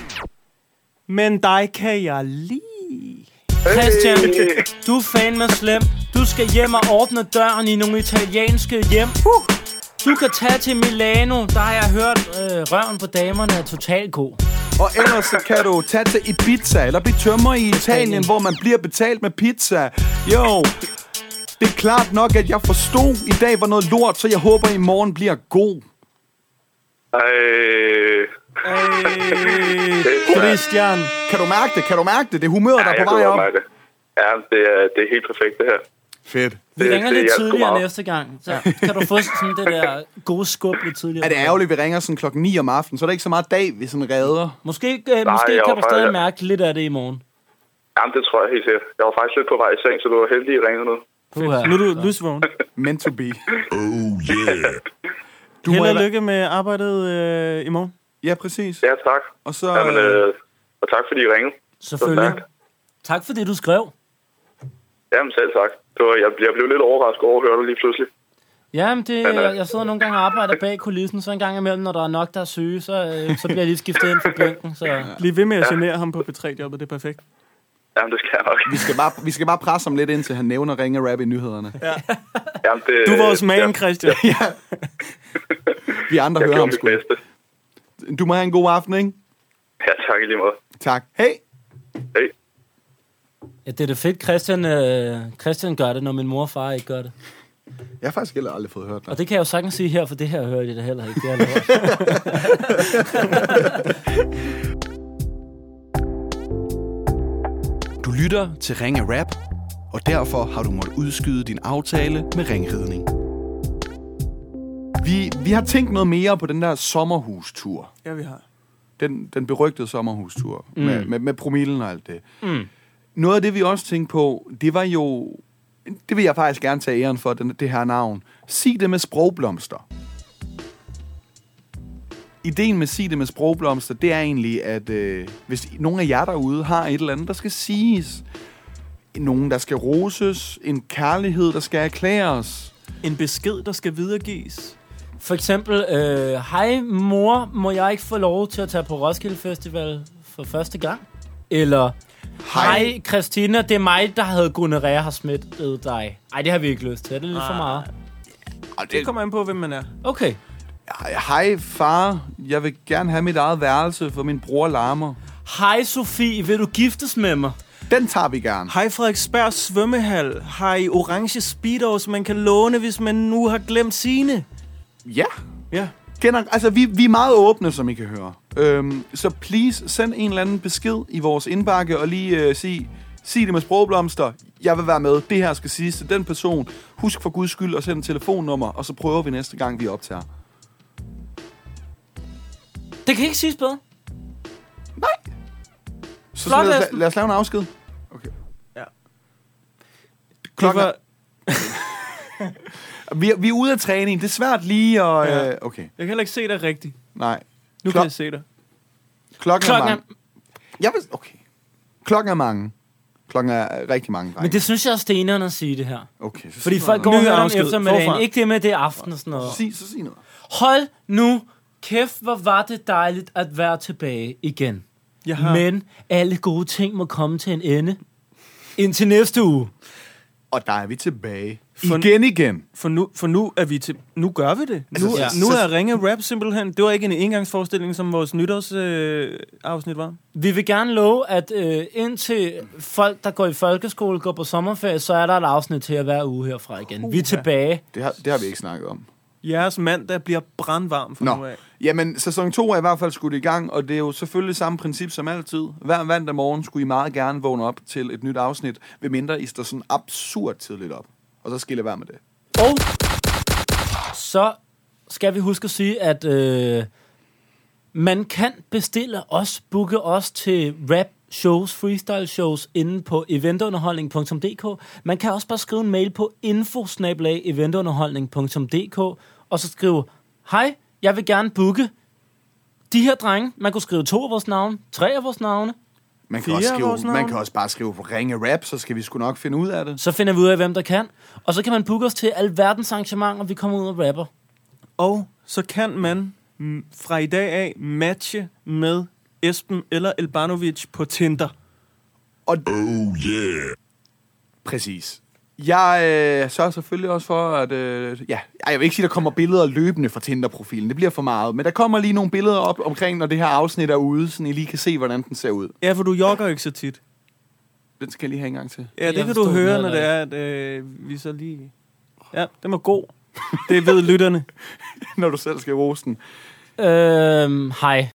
men dig kan jeg lide. Christian, du er fandme slem. Du skal hjem og åbne døren i nogle italienske hjem. Uh. Du kan tage til Milano. Der har jeg hørt, øh, røven på damerne er totalt god. Og ellers så kan du tage til Ibiza, eller blive tømmer i Italien, hvor man bliver betalt med pizza. Jo, det er klart nok, at jeg forstod, i dag var noget lort, så jeg håber, i morgen bliver god. Øh, Christian. Kan du mærke det? Kan du mærke det? Det er humøret, der er jeg på kan vej godt op. mærke det. Ja, det er, det er helt perfekt, det her. Fedt. Vi Det- ringer det lidt hjalp sgu tidligere meget. næste gang, så kan du få sådan det der gode skub lidt tidligere. Er det ærgerligt, at vi ringer sådan klokken 9 om aftenen, så er der ikke så meget dag, vi sådan redder. Måske, øh, Nej, måske jeg var kan du faktisk- stadig mærke lidt af det i morgen. Jamen, det tror jeg helt sikkert. Jeg var faktisk lidt på vej i seng, så du var heldig, at ringe nu. Nu er du lysvågen. Meant to be. Oh, yeah. Du Du Held må og heller- lykke med arbejdet øh, i morgen. Ja, præcis. ja, tak. Og så... Jamen, øh, og tak, fordi I ringede. Selvfølgelig. Tak. Tak for det, du skrev. Jamen, selv tak. Det var, jeg, jeg blev lidt overrasket over at høre dig lige pludselig. Jamen, det, Men, øh, jeg, jeg sidder nogle gange og arbejder bag kulissen, så en gang imellem, når der er nok, der er syge, så, øh, så bliver jeg lige skiftet ind for bænken. Så. Bliv ved med at genere ham på B3-jobbet, det er perfekt. Jamen, det skal jeg nok. Vi skal bare, vi skal bare presse ham lidt, indtil han nævner ringe rap i nyhederne. Ja. Jamen, det, Du er vores man, Christian. ja. Vi andre hører ham sgu. Du må have en god aften, ikke? Ja, tak i lige måde. Tak. Hej. Hej. Ja, det er da fedt, Christian, øh, Christian gør det, når min mor og far ikke gør det. Jeg har faktisk heller aldrig fået hørt dig. Og det kan jeg jo sagtens sige her, for det her hører de da heller ikke. Det har jeg lavet. Du lytter til Ringe Rap, og derfor har du måttet udskyde din aftale med ringridning. Vi, vi har tænkt noget mere på den der sommerhustur. Ja, vi har. Den, den berygtede sommerhustur Mm. mm. med, med, med promillen og alt det. Mm. Noget af det, vi også tænkte på, det var jo... Det vil jeg faktisk gerne tage æren for, den, det her navn. Sig det med sprogblomster. Ideen med Sig det med sprogblomster, det er egentlig, at øh, hvis nogen af jer derude har et eller andet, der skal siges. Nogen, der skal roses. En kærlighed, der skal erklæres. En besked, der skal videregives. For eksempel, øh, hej mor, må jeg ikke få lov til at tage på Roskilde Festival for første gang? Eller, hej Christina, det er mig, der havde gonorrhea har smittet dig. Ej, det har vi ikke lyst til. Det er lidt for Ej. meget. Det kommer an på, hvem man er. Okay. Hej far, jeg vil gerne have mit eget værelse, for min bror larmer. Hej Sofie, vil du giftes med mig? Den tager vi gerne. Hej Frederiksberg svømmehal. Hej orange speedos, man kan låne, hvis man nu har glemt sine. Ja. Ja. Gener- altså, vi, vi er meget åbne, som I kan høre. Øhm, så please, send en eller anden besked i vores indbakke, og lige øh, sig, sig det med sprogblomster. Jeg vil være med. Det her skal siges til den person. Husk for guds skyld at sende telefonnummer, og så prøver vi næste gang, vi optager. Det kan ikke siges bedre. Så, så Flot, lad, os, Esben. lad os lave en afsked. Ja. Klokken... Var... vi, er- vi er ude af træning. Det er svært lige at... Ja. Ja. Øh, okay, Jeg kan heller ikke se dig rigtigt. nej. Nu Klok- kan jeg se dig. Klokken, Klokken er... mange. Jeg vil... Okay. Klokken er mange. Klokken er rigtig mange, drenge. Men det synes jeg er stenerne at sige det her. Okay, så Fordi sig folk noget. går og Nu er der hører om afsked. eftermiddagen. Forfra. Ikke det med, det er aften og sådan noget. Sig, så sig noget. Hold nu kæft, hvor var det dejligt at være tilbage igen. Jaha. Men alle gode ting må komme til en ende. Indtil næste uge. Og der er vi tilbage. For- igen igen. For nu, for nu er vi til... Nu gør vi det. Altså, Altså, nu, ja. ja. nu så- er Ringe Rap simpelthen... Det var ikke en engangsforestilling, som vores nytårsafsnit øh, afsnit var. Vi vil gerne love, at øh, indtil folk, der går i folkeskole, går på sommerferie, så er der et afsnit til at hver uge herfra igen. Vi er tilbage. Det har, det har vi ikke snakket om. Jeres mandag bliver brandvarm for Nå. nu af. Jamen, sæson 2 er i hvert fald skudt i gang, og det er jo selvfølgelig samme princip som altid. Hver mandag morgen skulle I meget gerne vågne op til et nyt afsnit, ved mindre I står sådan absurd tidligt op. Og så skal I lade være med det. Og så skal vi huske at sige, at øh, man kan bestille os, booke os til rap shows, freestyle shows inde på eventunderholdning.dk. Man kan også bare skrive en mail på infosnabelag.eventunderholdning.dk og så skrive, hej, jeg vil gerne booke de her drenge. Man kunne skrive to af vores navne, tre af vores navne. Man kan, Fire også af vores skrive, navne. man kan også bare skrive ringe rap, så skal vi sgu nok finde ud af det. Så finder vi ud af, hvem der kan. Og så kan man booke os til alverdens arrangementer, vi kommer ud og rapper. Og så kan man mm, fra i dag af matche med Esben eller Elbanovic på Tinder. Og oh yeah. Præcis. Jeg øh, sørger selvfølgelig også for, at... Øh, ja, ej, jeg vil ikke sige, der kommer billeder løbende fra Tinder-profilen. Det bliver for meget. Men der kommer lige nogle billeder op omkring, når det her afsnit er ude, så I lige kan se, hvordan den ser ud. Ja, for du jogger ikke så tit. Den skal jeg lige have en gang til. Ja, det kan du høre, når det er, at øh, vi så lige... Ja, den var god. Det ved lytterne. når du selv skal rose den. Øhm, hej.